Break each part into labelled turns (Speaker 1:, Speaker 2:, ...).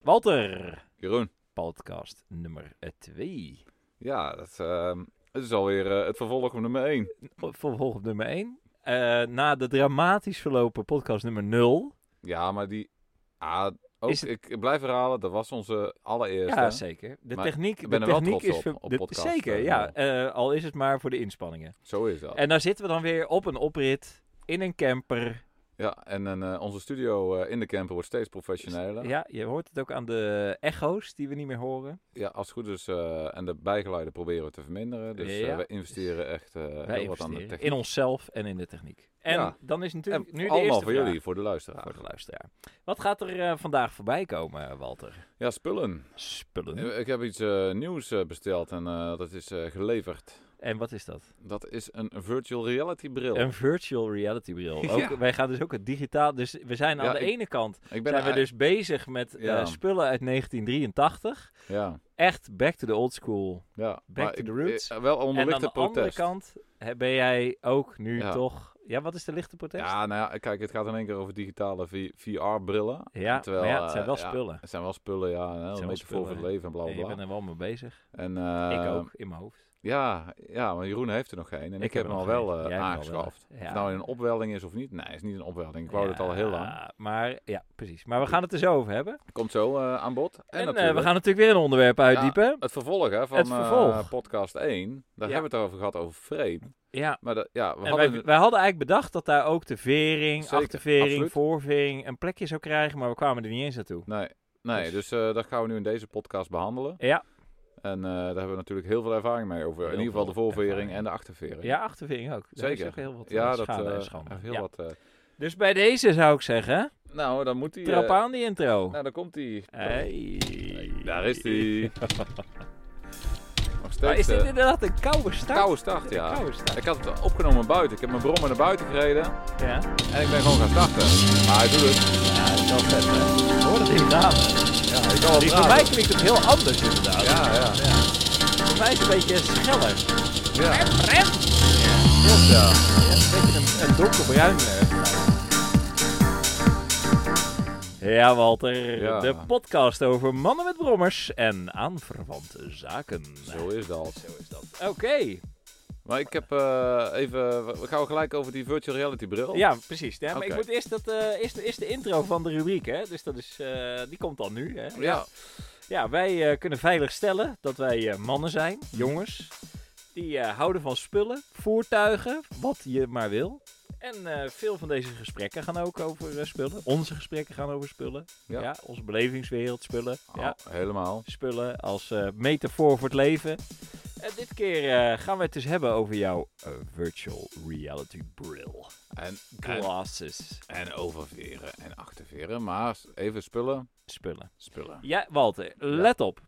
Speaker 1: Walter,
Speaker 2: Jeroen.
Speaker 1: podcast nummer 2.
Speaker 2: Ja, dat, ehm, het is alweer eh, het vervolg op nummer 1.
Speaker 1: Vervolg op nummer 1. na de dramatisch verlopen podcast nummer 0.
Speaker 2: Ja, maar die... Ah, ook,
Speaker 1: Is het-
Speaker 2: Ik blijf herhalen, dat was onze allereerste.
Speaker 1: Ja, zeker. De
Speaker 2: Maar
Speaker 1: techniek,
Speaker 2: ik
Speaker 1: de
Speaker 2: ben er wel
Speaker 1: techniek
Speaker 2: trots
Speaker 1: is...
Speaker 2: op,
Speaker 1: ver-
Speaker 2: op
Speaker 1: de-
Speaker 2: podcast,
Speaker 1: zeker,
Speaker 2: eh,
Speaker 1: ja. Eh, al is het maar voor de inspanningen.
Speaker 2: Zo is dat.
Speaker 1: En daar zitten we dan weer op een oprit, in een camper.
Speaker 2: Ja, en eh, onze studio eh, in de camper wordt steeds professioneler. Ja.
Speaker 1: Ja, je hoort het ook aan de echo's die we niet meer horen.
Speaker 2: als het goed is. eh, en de bijgeluiden proberen we te verminderen. Dus eh,
Speaker 1: Ja.
Speaker 2: we investeren echt eh,
Speaker 1: Wij
Speaker 2: heel wat aan de
Speaker 1: investeren
Speaker 2: techniek.
Speaker 1: in onszelf en in de techniek. En
Speaker 2: Ja.
Speaker 1: dan is
Speaker 2: En
Speaker 1: natuurlijk nu de
Speaker 2: allemaal
Speaker 1: eerste
Speaker 2: voor
Speaker 1: vraag
Speaker 2: jullie, voor de luisteraar.
Speaker 1: voor de luisteraar. Wat gaat er eh, vandaag voorbij komen, Walter?
Speaker 2: Ja, spullen.
Speaker 1: Spullen.
Speaker 2: Eh, Ik heb iets eh, nieuws eh, besteld en eh, dat is eh, geleverd.
Speaker 1: En wat is dat?
Speaker 2: Dat is een virtual reality bril.
Speaker 1: Een virtual reality bril. Ook,
Speaker 2: Ja.
Speaker 1: Wij gaan dus ook het digitaal. Dus we zijn aan
Speaker 2: Ja,
Speaker 1: de
Speaker 2: ik
Speaker 1: ene kant
Speaker 2: Ik ben
Speaker 1: zijn we
Speaker 2: er-
Speaker 1: dus bezig met eh,
Speaker 2: Ja.
Speaker 1: spullen uit 1983.
Speaker 2: Ja,
Speaker 1: Echt back to the old school.
Speaker 2: ja.
Speaker 1: Back
Speaker 2: Maar
Speaker 1: to the
Speaker 2: ik-
Speaker 1: roots.
Speaker 2: eh, wel onder
Speaker 1: en aan de
Speaker 2: lichte
Speaker 1: andere
Speaker 2: protest.
Speaker 1: kant hè, ben jij ook nu
Speaker 2: Ja.
Speaker 1: toch. Ja, wat is de lichte protest?
Speaker 2: Ja, nou ja, kijk, het gaat in één keer over digitale VR-brillen.
Speaker 1: Ja,
Speaker 2: terwijl,
Speaker 1: maar ja, het zijn wel
Speaker 2: eh, ja,
Speaker 1: spullen.
Speaker 2: Het zijn wel spullen, ja. en Een
Speaker 1: wel
Speaker 2: beetje voor voor het
Speaker 1: spullen.
Speaker 2: leven en bla
Speaker 1: Nee,
Speaker 2: bla
Speaker 1: ik ben
Speaker 2: bla.
Speaker 1: er wel mee bezig.
Speaker 2: En, eh,
Speaker 1: ik ook, in mijn hoofd.
Speaker 2: Ja, ja, maar Jeroen heeft er nog geen. En ik, heb
Speaker 1: er
Speaker 2: hem al
Speaker 1: nog
Speaker 2: wel
Speaker 1: geen. Jij
Speaker 2: eh,
Speaker 1: hebt er al wel.
Speaker 2: aangeschaft.
Speaker 1: Ja.
Speaker 2: Of nou een opwelding is of niet. Nee, het is niet een opwelding. Ik wou het al heel lang.
Speaker 1: Ja, Maar ja, precies. Maar we gaan het er zo over hebben.
Speaker 2: Komt zo eh, aan bod. En,
Speaker 1: En, eh,
Speaker 2: natuurlijk,
Speaker 1: we gaan natuurlijk weer een onderwerp uitdiepen.
Speaker 2: het vervolg hè, van
Speaker 1: Het
Speaker 2: eh,
Speaker 1: vervolg.
Speaker 2: podcast 1. Daar
Speaker 1: Ja.
Speaker 2: hebben we het over gehad, over frame.
Speaker 1: Ja.
Speaker 2: Maar dat, ja, we
Speaker 1: En
Speaker 2: hadden...
Speaker 1: wij, wij hadden eigenlijk bedacht dat daar ook de vering,
Speaker 2: Zeker,
Speaker 1: achtervering,
Speaker 2: absoluut.
Speaker 1: voorvering een plekje zou krijgen, maar we kwamen er niet eens naartoe.
Speaker 2: Nee, nee dus, eh, dat gaan we nu in deze podcast behandelen.
Speaker 1: Ja,
Speaker 2: En eh, daar hebben we natuurlijk heel veel ervaring mee over.
Speaker 1: Heel
Speaker 2: in ieder geval de
Speaker 1: veel
Speaker 2: voorvering
Speaker 1: ervaring.
Speaker 2: en de achtervering.
Speaker 1: ja achtervering ook. Daar is
Speaker 2: Zeker.
Speaker 1: ook heel wat eh,
Speaker 2: ja, dat
Speaker 1: schade en
Speaker 2: eh,
Speaker 1: schande.
Speaker 2: echt heel
Speaker 1: Ja.
Speaker 2: wat. eh.
Speaker 1: Dus bij deze zou ik zeggen,
Speaker 2: nou, dan moet hij.
Speaker 1: trap aan die intro.
Speaker 2: Nou, dan komt hij.
Speaker 1: Hey.
Speaker 2: Daar is hij. Nog steeds.
Speaker 1: Maar Oh, is dit
Speaker 2: eh,
Speaker 1: inderdaad een koude start?
Speaker 2: koude start,
Speaker 1: Een
Speaker 2: ja.
Speaker 1: koude start,
Speaker 2: Ik had het opgenomen buiten. Ik heb mijn brommer naar buiten gereden.
Speaker 1: ja.
Speaker 2: En ik ben gewoon gaan starten. Maar hij doet het.
Speaker 1: Ja, dat is wel vet, hè. Hoor dat inderdaad.
Speaker 2: Ja, ik kan wel
Speaker 1: Die voor
Speaker 2: praten.
Speaker 1: mij klinkt het heel anders, inderdaad.
Speaker 2: Ja, ja.
Speaker 1: Voor mij is het een beetje scheller.
Speaker 2: Ja,
Speaker 1: Rem!
Speaker 2: klopt, ja.
Speaker 1: Een beetje een, een donkerbruin. Ja, Walter.
Speaker 2: Ja.
Speaker 1: De podcast over mannen met brommers en aanverwante zaken.
Speaker 2: Zo is dat.
Speaker 1: Zo is dat. Oké.
Speaker 2: Maar ik heb eh, even. We gaan gelijk over die virtual reality bril.
Speaker 1: Ja, precies. Ja, maar ik
Speaker 2: Oké.
Speaker 1: moet eerst, dat, eh, eerst, eerst de intro van de rubriek, hè. Dus dat is, eh, die komt dan nu, hè.
Speaker 2: Ja,
Speaker 1: Ja, wij eh, kunnen veilig stellen dat wij eh, mannen zijn, jongens. Die eh, houden van spullen, voertuigen, wat je maar wil. En eh, veel van deze gesprekken gaan ook over eh, spullen. Onze gesprekken gaan over spullen. Ja,
Speaker 2: Ja.
Speaker 1: onze belevingswereld, spullen.
Speaker 2: Oh,
Speaker 1: Ja,
Speaker 2: helemaal.
Speaker 1: spullen als eh, metafoor voor het leven. En dit keer eh, gaan we het dus hebben over jouw eh, virtual reality bril.
Speaker 2: En, en,
Speaker 1: Glasses.
Speaker 2: en oververen en achterveren. Maar even spullen.
Speaker 1: Spullen.
Speaker 2: Spullen.
Speaker 1: Ja, Walter, let op.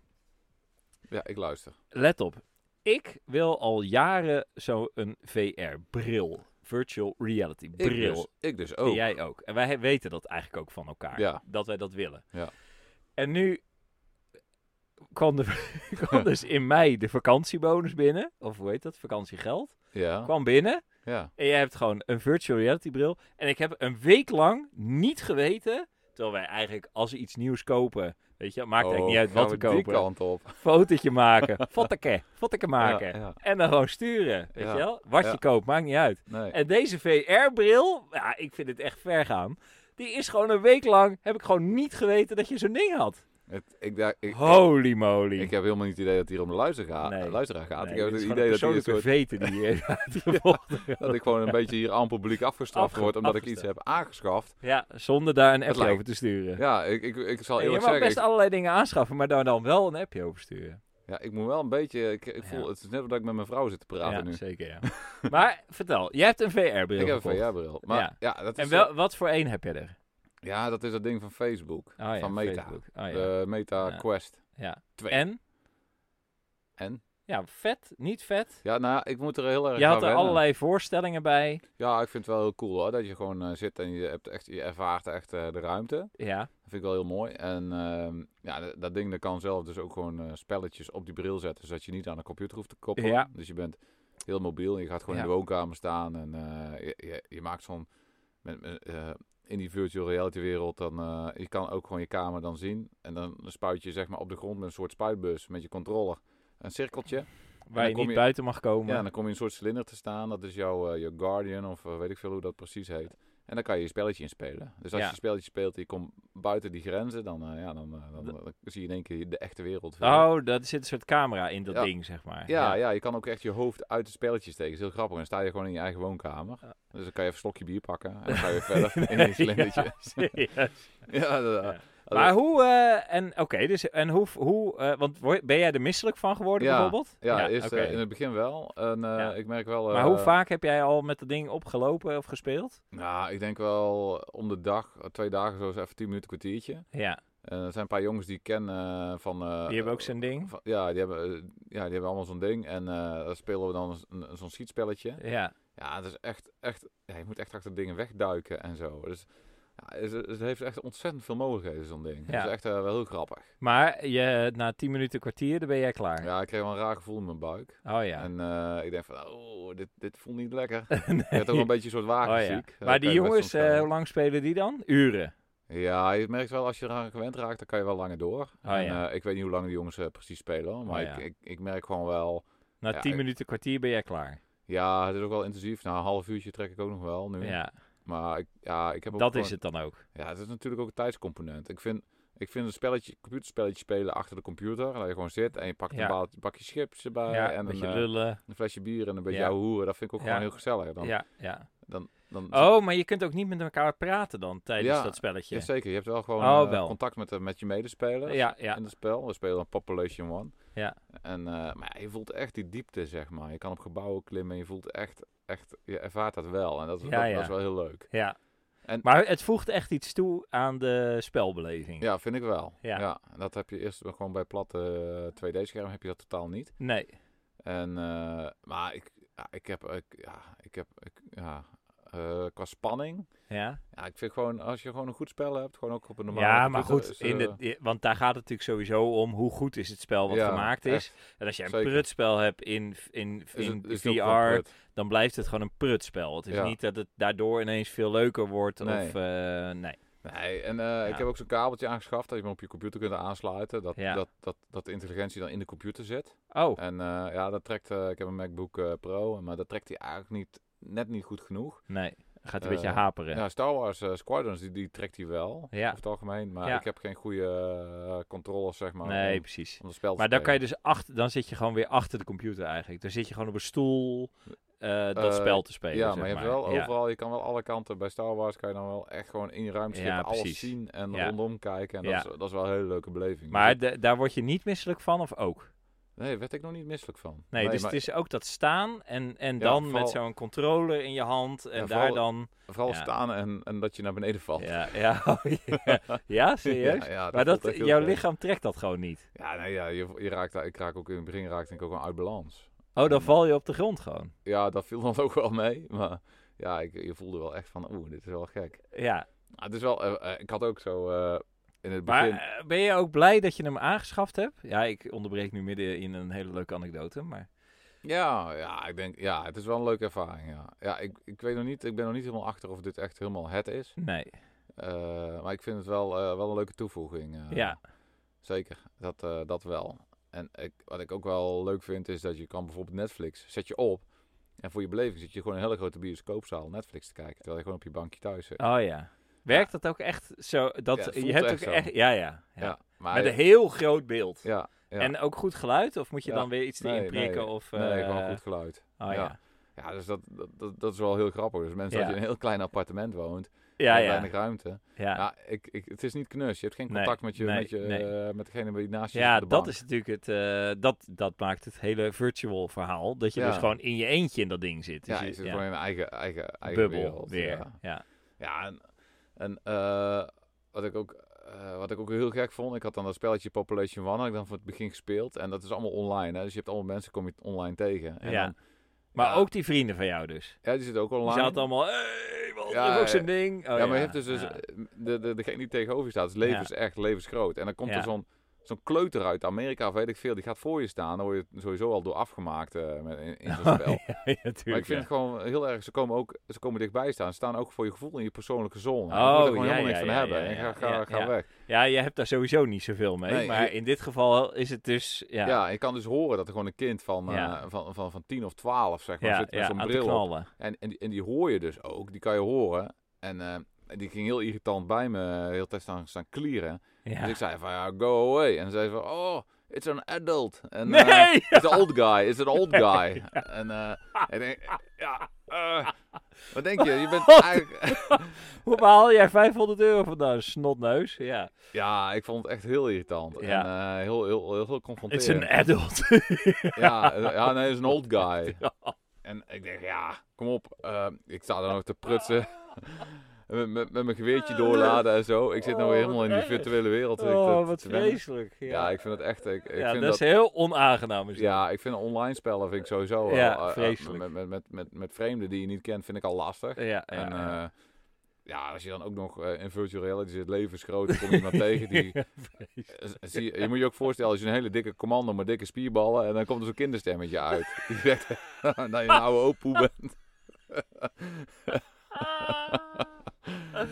Speaker 2: Ja, ik luister.
Speaker 1: Let op. Ik wil al jaren zo'n VR-bril. Virtual reality
Speaker 2: Ik
Speaker 1: bril.
Speaker 2: dus, ik dus ook.
Speaker 1: En jij ook. En wij he- weten dat eigenlijk ook van elkaar.
Speaker 2: Ja.
Speaker 1: Dat wij dat willen.
Speaker 2: Ja.
Speaker 1: En nu kwam, de, kwam dus in mei de vakantiebonus binnen. Of hoe heet dat? Vakantiegeld.
Speaker 2: Ja.
Speaker 1: Kwam binnen.
Speaker 2: ja.
Speaker 1: En jij hebt gewoon een virtual reality bril. En ik heb een week lang niet geweten. Terwijl wij eigenlijk als we iets nieuws kopen. Weet je, maakt eigenlijk
Speaker 2: Oh,
Speaker 1: niet uit
Speaker 2: gaan
Speaker 1: wat we
Speaker 2: we die
Speaker 1: kopen
Speaker 2: kant op.
Speaker 1: fotootje maken. Fotteke. Fotteke maken.
Speaker 2: Ja, ja.
Speaker 1: En dan gewoon sturen. Weet
Speaker 2: Ja.
Speaker 1: je wel? Wat
Speaker 2: Ja.
Speaker 1: je koopt, maakt niet uit.
Speaker 2: Nee.
Speaker 1: En deze VR-bril, ja, ik vind het echt ver gaan. Die is gewoon een week lang, heb ik gewoon niet geweten dat je zo'n ding had.
Speaker 2: Het, ik, dacht- ik, ik,
Speaker 1: Holy moly.
Speaker 2: ik heb helemaal niet het idee dat hier om de luisteraar gaat.
Speaker 1: Nee.
Speaker 2: luisteraar gaat.
Speaker 1: Nee,
Speaker 2: ik heb
Speaker 1: dit
Speaker 2: het
Speaker 1: is gewoon
Speaker 2: idee
Speaker 1: een
Speaker 2: dat, hier een
Speaker 1: persoonlijke
Speaker 2: soort,
Speaker 1: veten die je heeft uitgevochten.
Speaker 2: dat ik gewoon een beetje hier aan publiek afgestraft
Speaker 1: Afge-
Speaker 2: word. Omdat ik iets
Speaker 1: afgestraft.
Speaker 2: heb aangeschaft.
Speaker 1: Ja, zonder daar een appje
Speaker 2: lijkt-
Speaker 1: over te sturen.
Speaker 2: Ja, ik, ik, ik zal
Speaker 1: En je
Speaker 2: eerlijk
Speaker 1: mag
Speaker 2: zeggen.
Speaker 1: best
Speaker 2: Ik,
Speaker 1: allerlei dingen aanschaffen, maar daar dan wel een appje over sturen.
Speaker 2: ja, ik moet wel een beetje. Ik, ik voel,
Speaker 1: Ja.
Speaker 2: Het is net dat ik met mijn vrouw zit te praten
Speaker 1: ja,
Speaker 2: nu.
Speaker 1: zeker ja. maar vertel, jij hebt een VR-bril
Speaker 2: Ik heb een
Speaker 1: gekocht.
Speaker 2: VR-bril. Maar
Speaker 1: Ja.
Speaker 2: ja. dat is
Speaker 1: En wel, wat voor één heb je er?
Speaker 2: ja, dat is dat ding van Facebook.
Speaker 1: Oh ja,
Speaker 2: van Meta.
Speaker 1: Facebook. Oh ja.
Speaker 2: De Meta
Speaker 1: Ja.
Speaker 2: Quest
Speaker 1: Ja.
Speaker 2: 2.
Speaker 1: En?
Speaker 2: En?
Speaker 1: Ja, vet, niet vet.
Speaker 2: Ja, nou, ik moet er heel erg
Speaker 1: Je
Speaker 2: aan
Speaker 1: had er
Speaker 2: wennen.
Speaker 1: allerlei voorstellingen bij.
Speaker 2: Ja, ik vind het wel heel cool hoor, dat je gewoon eh, zit en je, hebt echt, je ervaart echt eh, de ruimte.
Speaker 1: Ja,
Speaker 2: Dat vind ik wel heel mooi. En ehm, ja, d- dat ding dat kan zelf dus ook gewoon eh, spelletjes op die bril zetten, zodat je niet aan een computer hoeft te koppelen.
Speaker 1: Ja.
Speaker 2: Dus je bent heel mobiel, je gaat gewoon
Speaker 1: Ja.
Speaker 2: in de woonkamer staan en eh, je, je, je maakt zo'n... met- met, eh, in die virtual reality wereld, dan eh, je kan ook gewoon je kamer dan zien. En dan spuit je zeg maar op de grond met een soort spuitbus met je controller. Een cirkeltje.
Speaker 1: Waar je
Speaker 2: kom
Speaker 1: niet
Speaker 2: je-
Speaker 1: buiten mag komen.
Speaker 2: Ja, en dan kom je in een soort cilinder te staan. Dat is jouw eh, je Guardian of eh, weet ik veel hoe dat precies heet. En dan kan je je spelletje inspelen. Dus als
Speaker 1: Ja.
Speaker 2: je spelletje speelt en je komt buiten die grenzen, dan, eh, ja, dan, eh, dan, dan zie je in één keer de echte wereld.
Speaker 1: Oh, daar zit een soort camera in dat
Speaker 2: Ja.
Speaker 1: ding, zeg maar.
Speaker 2: Ja, ja, je kan ook echt je hoofd uit het spelletje steken. Dat is heel grappig. En dan sta je gewoon in je eigen woonkamer.
Speaker 1: Ja.
Speaker 2: Dus dan kan je even een slokje bier pakken. En dan ga je weer verder in een cilindertje.
Speaker 1: Ja, serieus.
Speaker 2: Ja, dat- eh,
Speaker 1: Ja.
Speaker 2: dat-
Speaker 1: Maar hoe, eh, en oké, dus, en hoe, hoe eh, want word- ben jij er misselijk van geworden
Speaker 2: Ja,
Speaker 1: bijvoorbeeld?
Speaker 2: ja, eerst,
Speaker 1: oké.
Speaker 2: eh, in het begin wel. En eh,
Speaker 1: Ja.
Speaker 2: ik merk wel...
Speaker 1: maar
Speaker 2: eh,
Speaker 1: hoe vaak heb jij al met dat ding opgelopen of gespeeld?
Speaker 2: Nou, ik denk wel om de dag, eh, twee dagen zo, eens even tien minuten, kwartiertje.
Speaker 1: Ja,
Speaker 2: En Eh, er zijn een paar jongens die ik ken eh, van... eh,
Speaker 1: die hebben ook zijn ding.
Speaker 2: van- ja, die hebben, eh, ja, die hebben allemaal zo'n ding. En eh, dan spelen we dan een- zo'n schietspelletje.
Speaker 1: Ja,
Speaker 2: Ja, het is echt, echt, ja, je moet echt achter dingen wegduiken en zo. Dus ja, het, het heeft echt ontzettend veel mogelijkheden, zo'n ding.
Speaker 1: Ja.
Speaker 2: Het is echt eh, wel heel grappig.
Speaker 1: maar je, na 10 minuten kwartier, dan ben jij klaar.
Speaker 2: Ja, ik kreeg wel een raar gevoel in mijn buik.
Speaker 1: Oh ja.
Speaker 2: En eh, ik denk van, oh, dit, dit voelt niet lekker. Ik werd ook wel een beetje een soort
Speaker 1: Oh ja.
Speaker 2: wagenziek.
Speaker 1: Maar die jongens, eh, hoe
Speaker 2: ja.
Speaker 1: lang spelen die dan? Uren.
Speaker 2: ja, je merkt wel, als je eraan gewend raakt, dan kan je wel langer door. en,
Speaker 1: Oh ja.
Speaker 2: eh, ik weet niet hoe lang die jongens eh, precies spelen, hoor, maar
Speaker 1: Oh ja.
Speaker 2: ik, ik, ik merk gewoon wel...
Speaker 1: Na
Speaker 2: Ja,
Speaker 1: 10
Speaker 2: ik-
Speaker 1: minuten kwartier ben jij klaar.
Speaker 2: Ja, het is ook wel intensief. Na een half uurtje trek ik ook nog wel nu.
Speaker 1: Ja,
Speaker 2: Maar ik, ja, ik heb ook
Speaker 1: dat
Speaker 2: gewoon-
Speaker 1: is het dan ook.
Speaker 2: Ja, het is natuurlijk ook een tijdscomponent. Ik vind, ik vind een spelletje, computerspelletje spelen achter de computer. Dat je gewoon zit en je pakt
Speaker 1: Ja.
Speaker 2: een baal- bakje chips erbij.
Speaker 1: Ja,
Speaker 2: en
Speaker 1: een beetje
Speaker 2: eh,
Speaker 1: lullen.
Speaker 2: een flesje bier en een beetje
Speaker 1: Ja.
Speaker 2: ja. hoeren. Dat vind ik ook
Speaker 1: Ja.
Speaker 2: gewoon heel gezellig. Dan,
Speaker 1: Ja, ja.
Speaker 2: dan, dan,
Speaker 1: Oh, maar je kunt ook niet met elkaar praten dan tijdens
Speaker 2: Ja,
Speaker 1: dat spelletje.
Speaker 2: Ja, zeker. Je hebt wel gewoon
Speaker 1: Oh,
Speaker 2: eh,
Speaker 1: wel.
Speaker 2: contact met, de- met je medespelers
Speaker 1: Ja, ja.
Speaker 2: in het spel. We spelen dan Population One.
Speaker 1: Ja.
Speaker 2: En, eh, maar ja, je voelt echt die diepte, zeg maar. Je kan op gebouwen klimmen. Je voelt echt, echt je ervaart dat wel. En dat, is
Speaker 1: Ja,
Speaker 2: dat,
Speaker 1: ja.
Speaker 2: dat is wel heel leuk.
Speaker 1: ja.
Speaker 2: En-
Speaker 1: Maar het voegt echt iets toe aan de spelbeleving.
Speaker 2: Ja, vind ik wel.
Speaker 1: Ja.
Speaker 2: Ja. en dat heb je eerst gewoon bij platte eh, 2D-scherm heb je dat totaal niet.
Speaker 1: Nee.
Speaker 2: En, eh, maar ik, ja, ik heb, ik, ja, ik heb, ik, ja, eh, qua spanning.
Speaker 1: Ja,
Speaker 2: Ja, ik vind gewoon, als je gewoon een goed spel hebt, gewoon ook op een normale
Speaker 1: ja maar
Speaker 2: computer,
Speaker 1: goed,
Speaker 2: is,
Speaker 1: in de,
Speaker 2: eh,
Speaker 1: i- want daar gaat het natuurlijk sowieso om hoe goed is het spel wat
Speaker 2: Ja,
Speaker 1: gemaakt is. En als jij een
Speaker 2: Zeker.
Speaker 1: prutspel hebt in, in,
Speaker 2: is
Speaker 1: in
Speaker 2: het- is het ook wel
Speaker 1: VR,
Speaker 2: prut.
Speaker 1: dan blijft het gewoon een prutspel. Het is
Speaker 2: Ja.
Speaker 1: niet dat het daardoor ineens veel leuker wordt.
Speaker 2: Nee.
Speaker 1: Of, eh, nee.
Speaker 2: Nee, en eh,
Speaker 1: Ja.
Speaker 2: ik heb ook zo'n kabeltje aangeschaft dat je hem op je computer kunt aansluiten. Dat,
Speaker 1: Ja.
Speaker 2: dat, dat, dat de intelligentie dan in de computer zit.
Speaker 1: Oh,
Speaker 2: En eh, ja, dat trekt, eh, ik heb een MacBook eh, Pro, maar dat trekt hij eigenlijk niet, net niet goed genoeg.
Speaker 1: nee. Gaat een
Speaker 2: Eh,
Speaker 1: beetje haperen.
Speaker 2: Ja, Star Wars eh, Squadrons, die, die trekt hij wel,
Speaker 1: Ja.
Speaker 2: over het algemeen. Maar
Speaker 1: Ja.
Speaker 2: ik heb geen goede eh, controles, zeg maar,
Speaker 1: nee,
Speaker 2: om,
Speaker 1: precies.
Speaker 2: om het spel te
Speaker 1: Maar dan
Speaker 2: spelen.
Speaker 1: kan je dus achter, dan zit je gewoon weer achter de computer eigenlijk. Dan zit je gewoon op een stoel eh, dat
Speaker 2: Eh,
Speaker 1: spel te spelen.
Speaker 2: Ja,
Speaker 1: zeg
Speaker 2: maar je hebt wel
Speaker 1: Ja.
Speaker 2: overal, je kan wel alle kanten. Bij Star Wars kan je dan wel echt gewoon in je ruimte
Speaker 1: Ja,
Speaker 2: alles
Speaker 1: precies.
Speaker 2: zien en
Speaker 1: Ja.
Speaker 2: rondom kijken. En
Speaker 1: Ja.
Speaker 2: dat, is, dat is wel een hele leuke beleving.
Speaker 1: Maar
Speaker 2: Dus
Speaker 1: de- daar word je niet misselijk van of ook?
Speaker 2: ik- nee, werd ik nog niet misselijk van.
Speaker 1: Nee, dus
Speaker 2: maar
Speaker 1: het is ook dat staan en, en dan met
Speaker 2: vooral-
Speaker 1: zo'n controller in je hand en
Speaker 2: Ja,
Speaker 1: daar
Speaker 2: vooral-
Speaker 1: dan...
Speaker 2: Vooral
Speaker 1: ja.
Speaker 2: staan en, en dat je naar beneden valt.
Speaker 1: Ja, ja, oh, ja. Ja, serieus?
Speaker 2: Ja, ja,
Speaker 1: maar
Speaker 2: voelt
Speaker 1: dat,
Speaker 2: echt heel
Speaker 1: jouw
Speaker 2: vreemd.
Speaker 1: lichaam trekt dat gewoon niet.
Speaker 2: Ja, nee, ja je, je raakt, daar- ik raak ook in het begin raakte ik ook wel uit balans.
Speaker 1: Oh, dan
Speaker 2: Ja.
Speaker 1: val je op de grond gewoon.
Speaker 2: Ja, dat viel dan ook wel mee. Maar ja, ik, je voelde wel echt van, oeh, dit is wel gek.
Speaker 1: Ja,
Speaker 2: Maar het is wel, eh, eh, ik had ook zo eh, in het
Speaker 1: maar
Speaker 2: begin...
Speaker 1: eh, ben je ook blij dat je hem aangeschaft hebt? Ja, ik onderbreek nu midden in een hele leuke anekdote, maar...
Speaker 2: Ja, ja, ik denk, ja, het is wel een leuke ervaring. Ja, ja ik, ik weet nog niet, ik ben nog niet helemaal achter of dit echt helemaal het is.
Speaker 1: Nee,
Speaker 2: Eh, maar ik vind het wel, eh, wel een leuke toevoeging. eh.
Speaker 1: ja,
Speaker 2: Zeker, dat, eh, dat wel. En ik, wat ik ook wel leuk vind is dat je kan bijvoorbeeld Netflix, zet je op. En voor je beleving zit je gewoon in een hele grote bioscoopzaal Netflix te kijken. Terwijl je gewoon op je bankje thuis zit.
Speaker 1: oh ja. Werkt dat ook echt zo?
Speaker 2: Ja,
Speaker 1: Dat,
Speaker 2: het voelt
Speaker 1: je hebt
Speaker 2: echt
Speaker 1: ook
Speaker 2: zo.
Speaker 1: echt... Ja, ja, ja.
Speaker 2: maar
Speaker 1: Met een heel groot beeld.
Speaker 2: ja, ja.
Speaker 1: En ook goed geluid? Of moet je
Speaker 2: Ja.
Speaker 1: dan weer iets te
Speaker 2: Nee,
Speaker 1: inprikken?
Speaker 2: nee.
Speaker 1: of,
Speaker 2: nee,
Speaker 1: eh,
Speaker 2: gewoon goed geluid.
Speaker 1: Oh, ja.
Speaker 2: Ja. Ja, dus dat, dat, dat, dat is wel heel grappig. Dus mensen
Speaker 1: Ja.
Speaker 2: dat je in een heel klein appartement woont,
Speaker 1: Ja,
Speaker 2: met
Speaker 1: ja,
Speaker 2: weinig ruimte.
Speaker 1: ja.
Speaker 2: Ja, ik, ik, het is niet knus. Je hebt geen
Speaker 1: Nee,
Speaker 2: contact met, je,
Speaker 1: nee,
Speaker 2: met, je,
Speaker 1: nee.
Speaker 2: eh, met degene die naast je zit
Speaker 1: Ja,
Speaker 2: op de bank.
Speaker 1: dat is natuurlijk het. eh, dat, dat maakt het hele virtual verhaal. Dat je
Speaker 2: Ja.
Speaker 1: dus gewoon in je eentje in dat ding zit. Dus
Speaker 2: Ja, je zit gewoon in een eigen, eigen, eigen
Speaker 1: bubbel
Speaker 2: wereld.
Speaker 1: weer. Ja.
Speaker 2: Ja, Ja, en, en eh, wat, ik ook, eh, wat ik ook heel gek vond, ik had dan dat spelletje Population One, had ik dan van het begin gespeeld. En dat is allemaal online, hè? dus je hebt allemaal mensen, kom je online tegen. En
Speaker 1: Ja.
Speaker 2: dan-
Speaker 1: Maar
Speaker 2: ja,
Speaker 1: ook die vrienden van jou dus.
Speaker 2: Ja, die zitten ook
Speaker 1: Die
Speaker 2: online.
Speaker 1: zaten allemaal. Hey, wat
Speaker 2: Ja,
Speaker 1: dat is ook
Speaker 2: ja.
Speaker 1: zijn ding. Oh,
Speaker 2: ja, maar je hebt dus, dus
Speaker 1: ja.
Speaker 2: eh, de, de, degene die tegenover je staat, het leven
Speaker 1: Ja.
Speaker 2: is echt levensgroot. En dan komt
Speaker 1: Ja.
Speaker 2: er zo'n zo'n kleuter uit Amerika of weet ik veel, die gaat voor je staan. Dan word je sowieso al door afgemaakt eh, met, in, in zo'n spel.
Speaker 1: ja, natuurlijk.
Speaker 2: maar ik vind het gewoon heel erg, ze komen, ook, ze komen dichtbij staan. Ze staan ook voor je gevoel in je persoonlijke zone.
Speaker 1: Oh,
Speaker 2: je moet er gewoon
Speaker 1: ja,
Speaker 2: helemaal niks
Speaker 1: ja,
Speaker 2: van
Speaker 1: ja,
Speaker 2: hebben.
Speaker 1: ja,
Speaker 2: En
Speaker 1: ja,
Speaker 2: ga, ga,
Speaker 1: ja,
Speaker 2: ga
Speaker 1: ja.
Speaker 2: weg.
Speaker 1: ja, je hebt daar sowieso niet zoveel mee.
Speaker 2: Nee,
Speaker 1: maar
Speaker 2: je-
Speaker 1: in dit geval is het dus... Ja,
Speaker 2: Ja. ik kan dus horen dat er gewoon een kind van, eh,
Speaker 1: Ja.
Speaker 2: van, van, van 10 of 12 zeg maar,
Speaker 1: ja,
Speaker 2: zit met
Speaker 1: ja,
Speaker 2: zo'n
Speaker 1: aan te
Speaker 2: bril op.
Speaker 1: knallen.
Speaker 2: En, en, die, en die hoor je dus ook, die kan je horen. En eh, die ging heel irritant bij me, eh, heel tijd staan, staan klieren.
Speaker 1: Ja.
Speaker 2: Dus ik zei van, ja, go away. En zei van, oh, it's an adult. En,
Speaker 1: nee!
Speaker 2: eh, it's an old guy, it's an old guy. En eh, ik denk, ja, eh, wat denk je? Je bent eigenlijk...
Speaker 1: Hoe haal jij 500 euro vandaan, snotneus? Ja.
Speaker 2: Ja, ik vond het echt heel irritant. En
Speaker 1: Ja.
Speaker 2: eh, heel, heel, heel, heel
Speaker 1: It's an
Speaker 2: confronterend.
Speaker 1: adult.
Speaker 2: Ja, eh, ja, nee, it's an old guy. En ik denk, ja, kom op. eh, ik sta daar nog te prutsen. met, met, met mijn geweertje doorladen en zo. Ik zit nou
Speaker 1: Eh, Oh,
Speaker 2: weer helemaal in die
Speaker 1: wat erg.
Speaker 2: virtuele wereld. Ik-
Speaker 1: Oh,
Speaker 2: dat-
Speaker 1: wat
Speaker 2: te wennen.
Speaker 1: vreselijk. Ja,
Speaker 2: Ja, ik vind het echt... Ik, ik
Speaker 1: Ja, dat,
Speaker 2: vind dat,
Speaker 1: is heel onaangenaam. Is dat.
Speaker 2: ja, ik vind online spellen vind ik sowieso... wel,
Speaker 1: Ja,
Speaker 2: eh, eh,
Speaker 1: vreselijk.
Speaker 2: met, met, met, met, met vreemden die je niet kent, vind ik al lastig.
Speaker 1: Ja, ja,
Speaker 2: en
Speaker 1: ja.
Speaker 2: eh, ja, als je dan ook nog eh, in virtual reality zit, leven is groot, dan kom je iemand tegen die... eh, Zie, je- je moet je ook voorstellen, als je een hele dikke commando met dikke spierballen... en dan komt er zo'n kinderstemmetje uit. Die zegt dat je een oude opoe bent.
Speaker 1: Ah.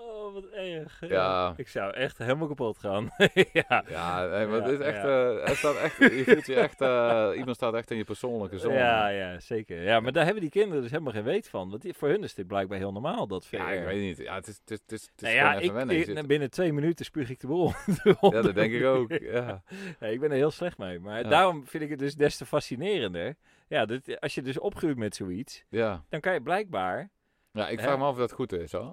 Speaker 1: oh, wat erg.
Speaker 2: Ja.
Speaker 1: Ik zou echt helemaal kapot gaan. ja.
Speaker 2: Ja, nee, maar
Speaker 1: Ja,
Speaker 2: het is echt,
Speaker 1: ja.
Speaker 2: eh, het staat echt, je voelt je echt, eh, iemand staat echt in je persoonlijke zone.
Speaker 1: Ja, ja, zeker. Ja, maar daar hebben die kinderen dus helemaal geen weet van. Want die, voor hun is dit blijkbaar heel normaal, dat VR.
Speaker 2: Ja, ik weet niet. Ja, het is, het is, het is, het is
Speaker 1: Nou
Speaker 2: gewoon
Speaker 1: ja,
Speaker 2: even
Speaker 1: ik,
Speaker 2: wennen. Je
Speaker 1: ik-
Speaker 2: zit-
Speaker 1: binnen twee minuten spuug ik de boel.
Speaker 2: ja, dat denk ik ook. Ja,
Speaker 1: Nee, ik ben er heel slecht mee. Maar
Speaker 2: Ja.
Speaker 1: daarom vind ik het dus des te fascinerender. Ja, dit, als je dus opgroeit met zoiets,
Speaker 2: ja.
Speaker 1: dan kan je blijkbaar...
Speaker 2: ja ik
Speaker 1: Hè?
Speaker 2: vraag me af of dat goed is, hoor.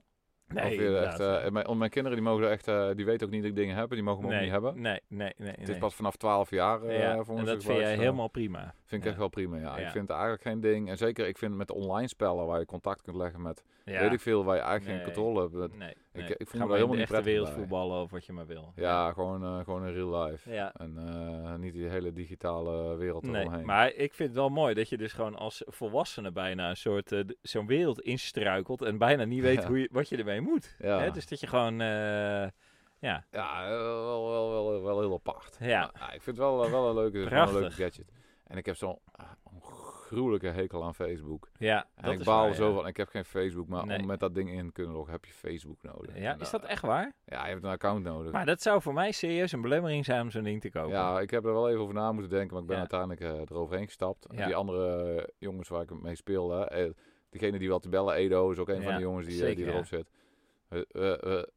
Speaker 2: of je
Speaker 1: inderdaad.
Speaker 2: echt, eh, mijn, want mijn kinderen die mogen er echt, eh, die weten ook niet dat ik dingen heb, die mogen me ook
Speaker 1: nee,
Speaker 2: niet hebben.
Speaker 1: Nee, nee, nee.
Speaker 2: Het
Speaker 1: nee.
Speaker 2: is pas vanaf 12 jaar eh
Speaker 1: Ja,
Speaker 2: voor
Speaker 1: en
Speaker 2: ons
Speaker 1: dat vind jij helemaal
Speaker 2: eh,
Speaker 1: prima.
Speaker 2: Vind ik
Speaker 1: ja.
Speaker 2: echt wel prima, ja.
Speaker 1: Ja.
Speaker 2: Ik vind het eigenlijk geen ding. En zeker, ik vind met online spellen waar je contact kunt leggen met, weet ik veel, waar je eigenlijk
Speaker 1: Nee.
Speaker 2: geen controle hebt. Dat-
Speaker 1: nee,
Speaker 2: ik
Speaker 1: nee.
Speaker 2: voel me
Speaker 1: Ga
Speaker 2: daar
Speaker 1: maar in
Speaker 2: helemaal
Speaker 1: de
Speaker 2: niet
Speaker 1: echte
Speaker 2: prettig
Speaker 1: wereld
Speaker 2: bij.
Speaker 1: voetballen of wat je maar wil.
Speaker 2: Ja, gewoon, eh, gewoon in real life.
Speaker 1: Ja.
Speaker 2: En eh, niet die hele digitale wereld
Speaker 1: Nee,
Speaker 2: eromheen.
Speaker 1: maar ik vind het wel mooi dat je dus gewoon als volwassene bijna een soort eh, d- zo'n wereld instruikelt en bijna niet weet
Speaker 2: Ja.
Speaker 1: hoe je, wat je ermee moet.
Speaker 2: Ja,
Speaker 1: Hè? Dus dat je gewoon, eh, ja,
Speaker 2: ja eh, wel, wel, wel, wel heel apart.
Speaker 1: Ja.
Speaker 2: Maar, ah, ik vind het wel, eh, wel een leuke, het is gewoon een leuke
Speaker 1: Prachtig.
Speaker 2: gadget. En ik heb zo'n ah, gruwelijke hekel aan Facebook.
Speaker 1: ja,
Speaker 2: En
Speaker 1: dat
Speaker 2: ik
Speaker 1: is
Speaker 2: baal
Speaker 1: waar,
Speaker 2: zo
Speaker 1: ja.
Speaker 2: van, ik heb geen Facebook, maar
Speaker 1: Nee.
Speaker 2: om met dat ding in te kunnen loggen heb je Facebook nodig.
Speaker 1: Ja,
Speaker 2: En,
Speaker 1: is
Speaker 2: eh,
Speaker 1: dat echt waar?
Speaker 2: Ja, je hebt een account nodig.
Speaker 1: Maar dat zou voor mij serieus een belemmering zijn om zo'n ding te kopen.
Speaker 2: Ja, ik heb er wel even over na moeten denken, maar ik ben
Speaker 1: Ja.
Speaker 2: uiteindelijk eh, eroverheen gestapt.
Speaker 1: Ja.
Speaker 2: Die andere eh, jongens waar ik mee speelde, eh, degene die wel te bellen, Edo, is ook een
Speaker 1: Ja,
Speaker 2: van de jongens die, eh,
Speaker 1: zeker,
Speaker 2: die
Speaker 1: ja.
Speaker 2: erop zit. We, we- we-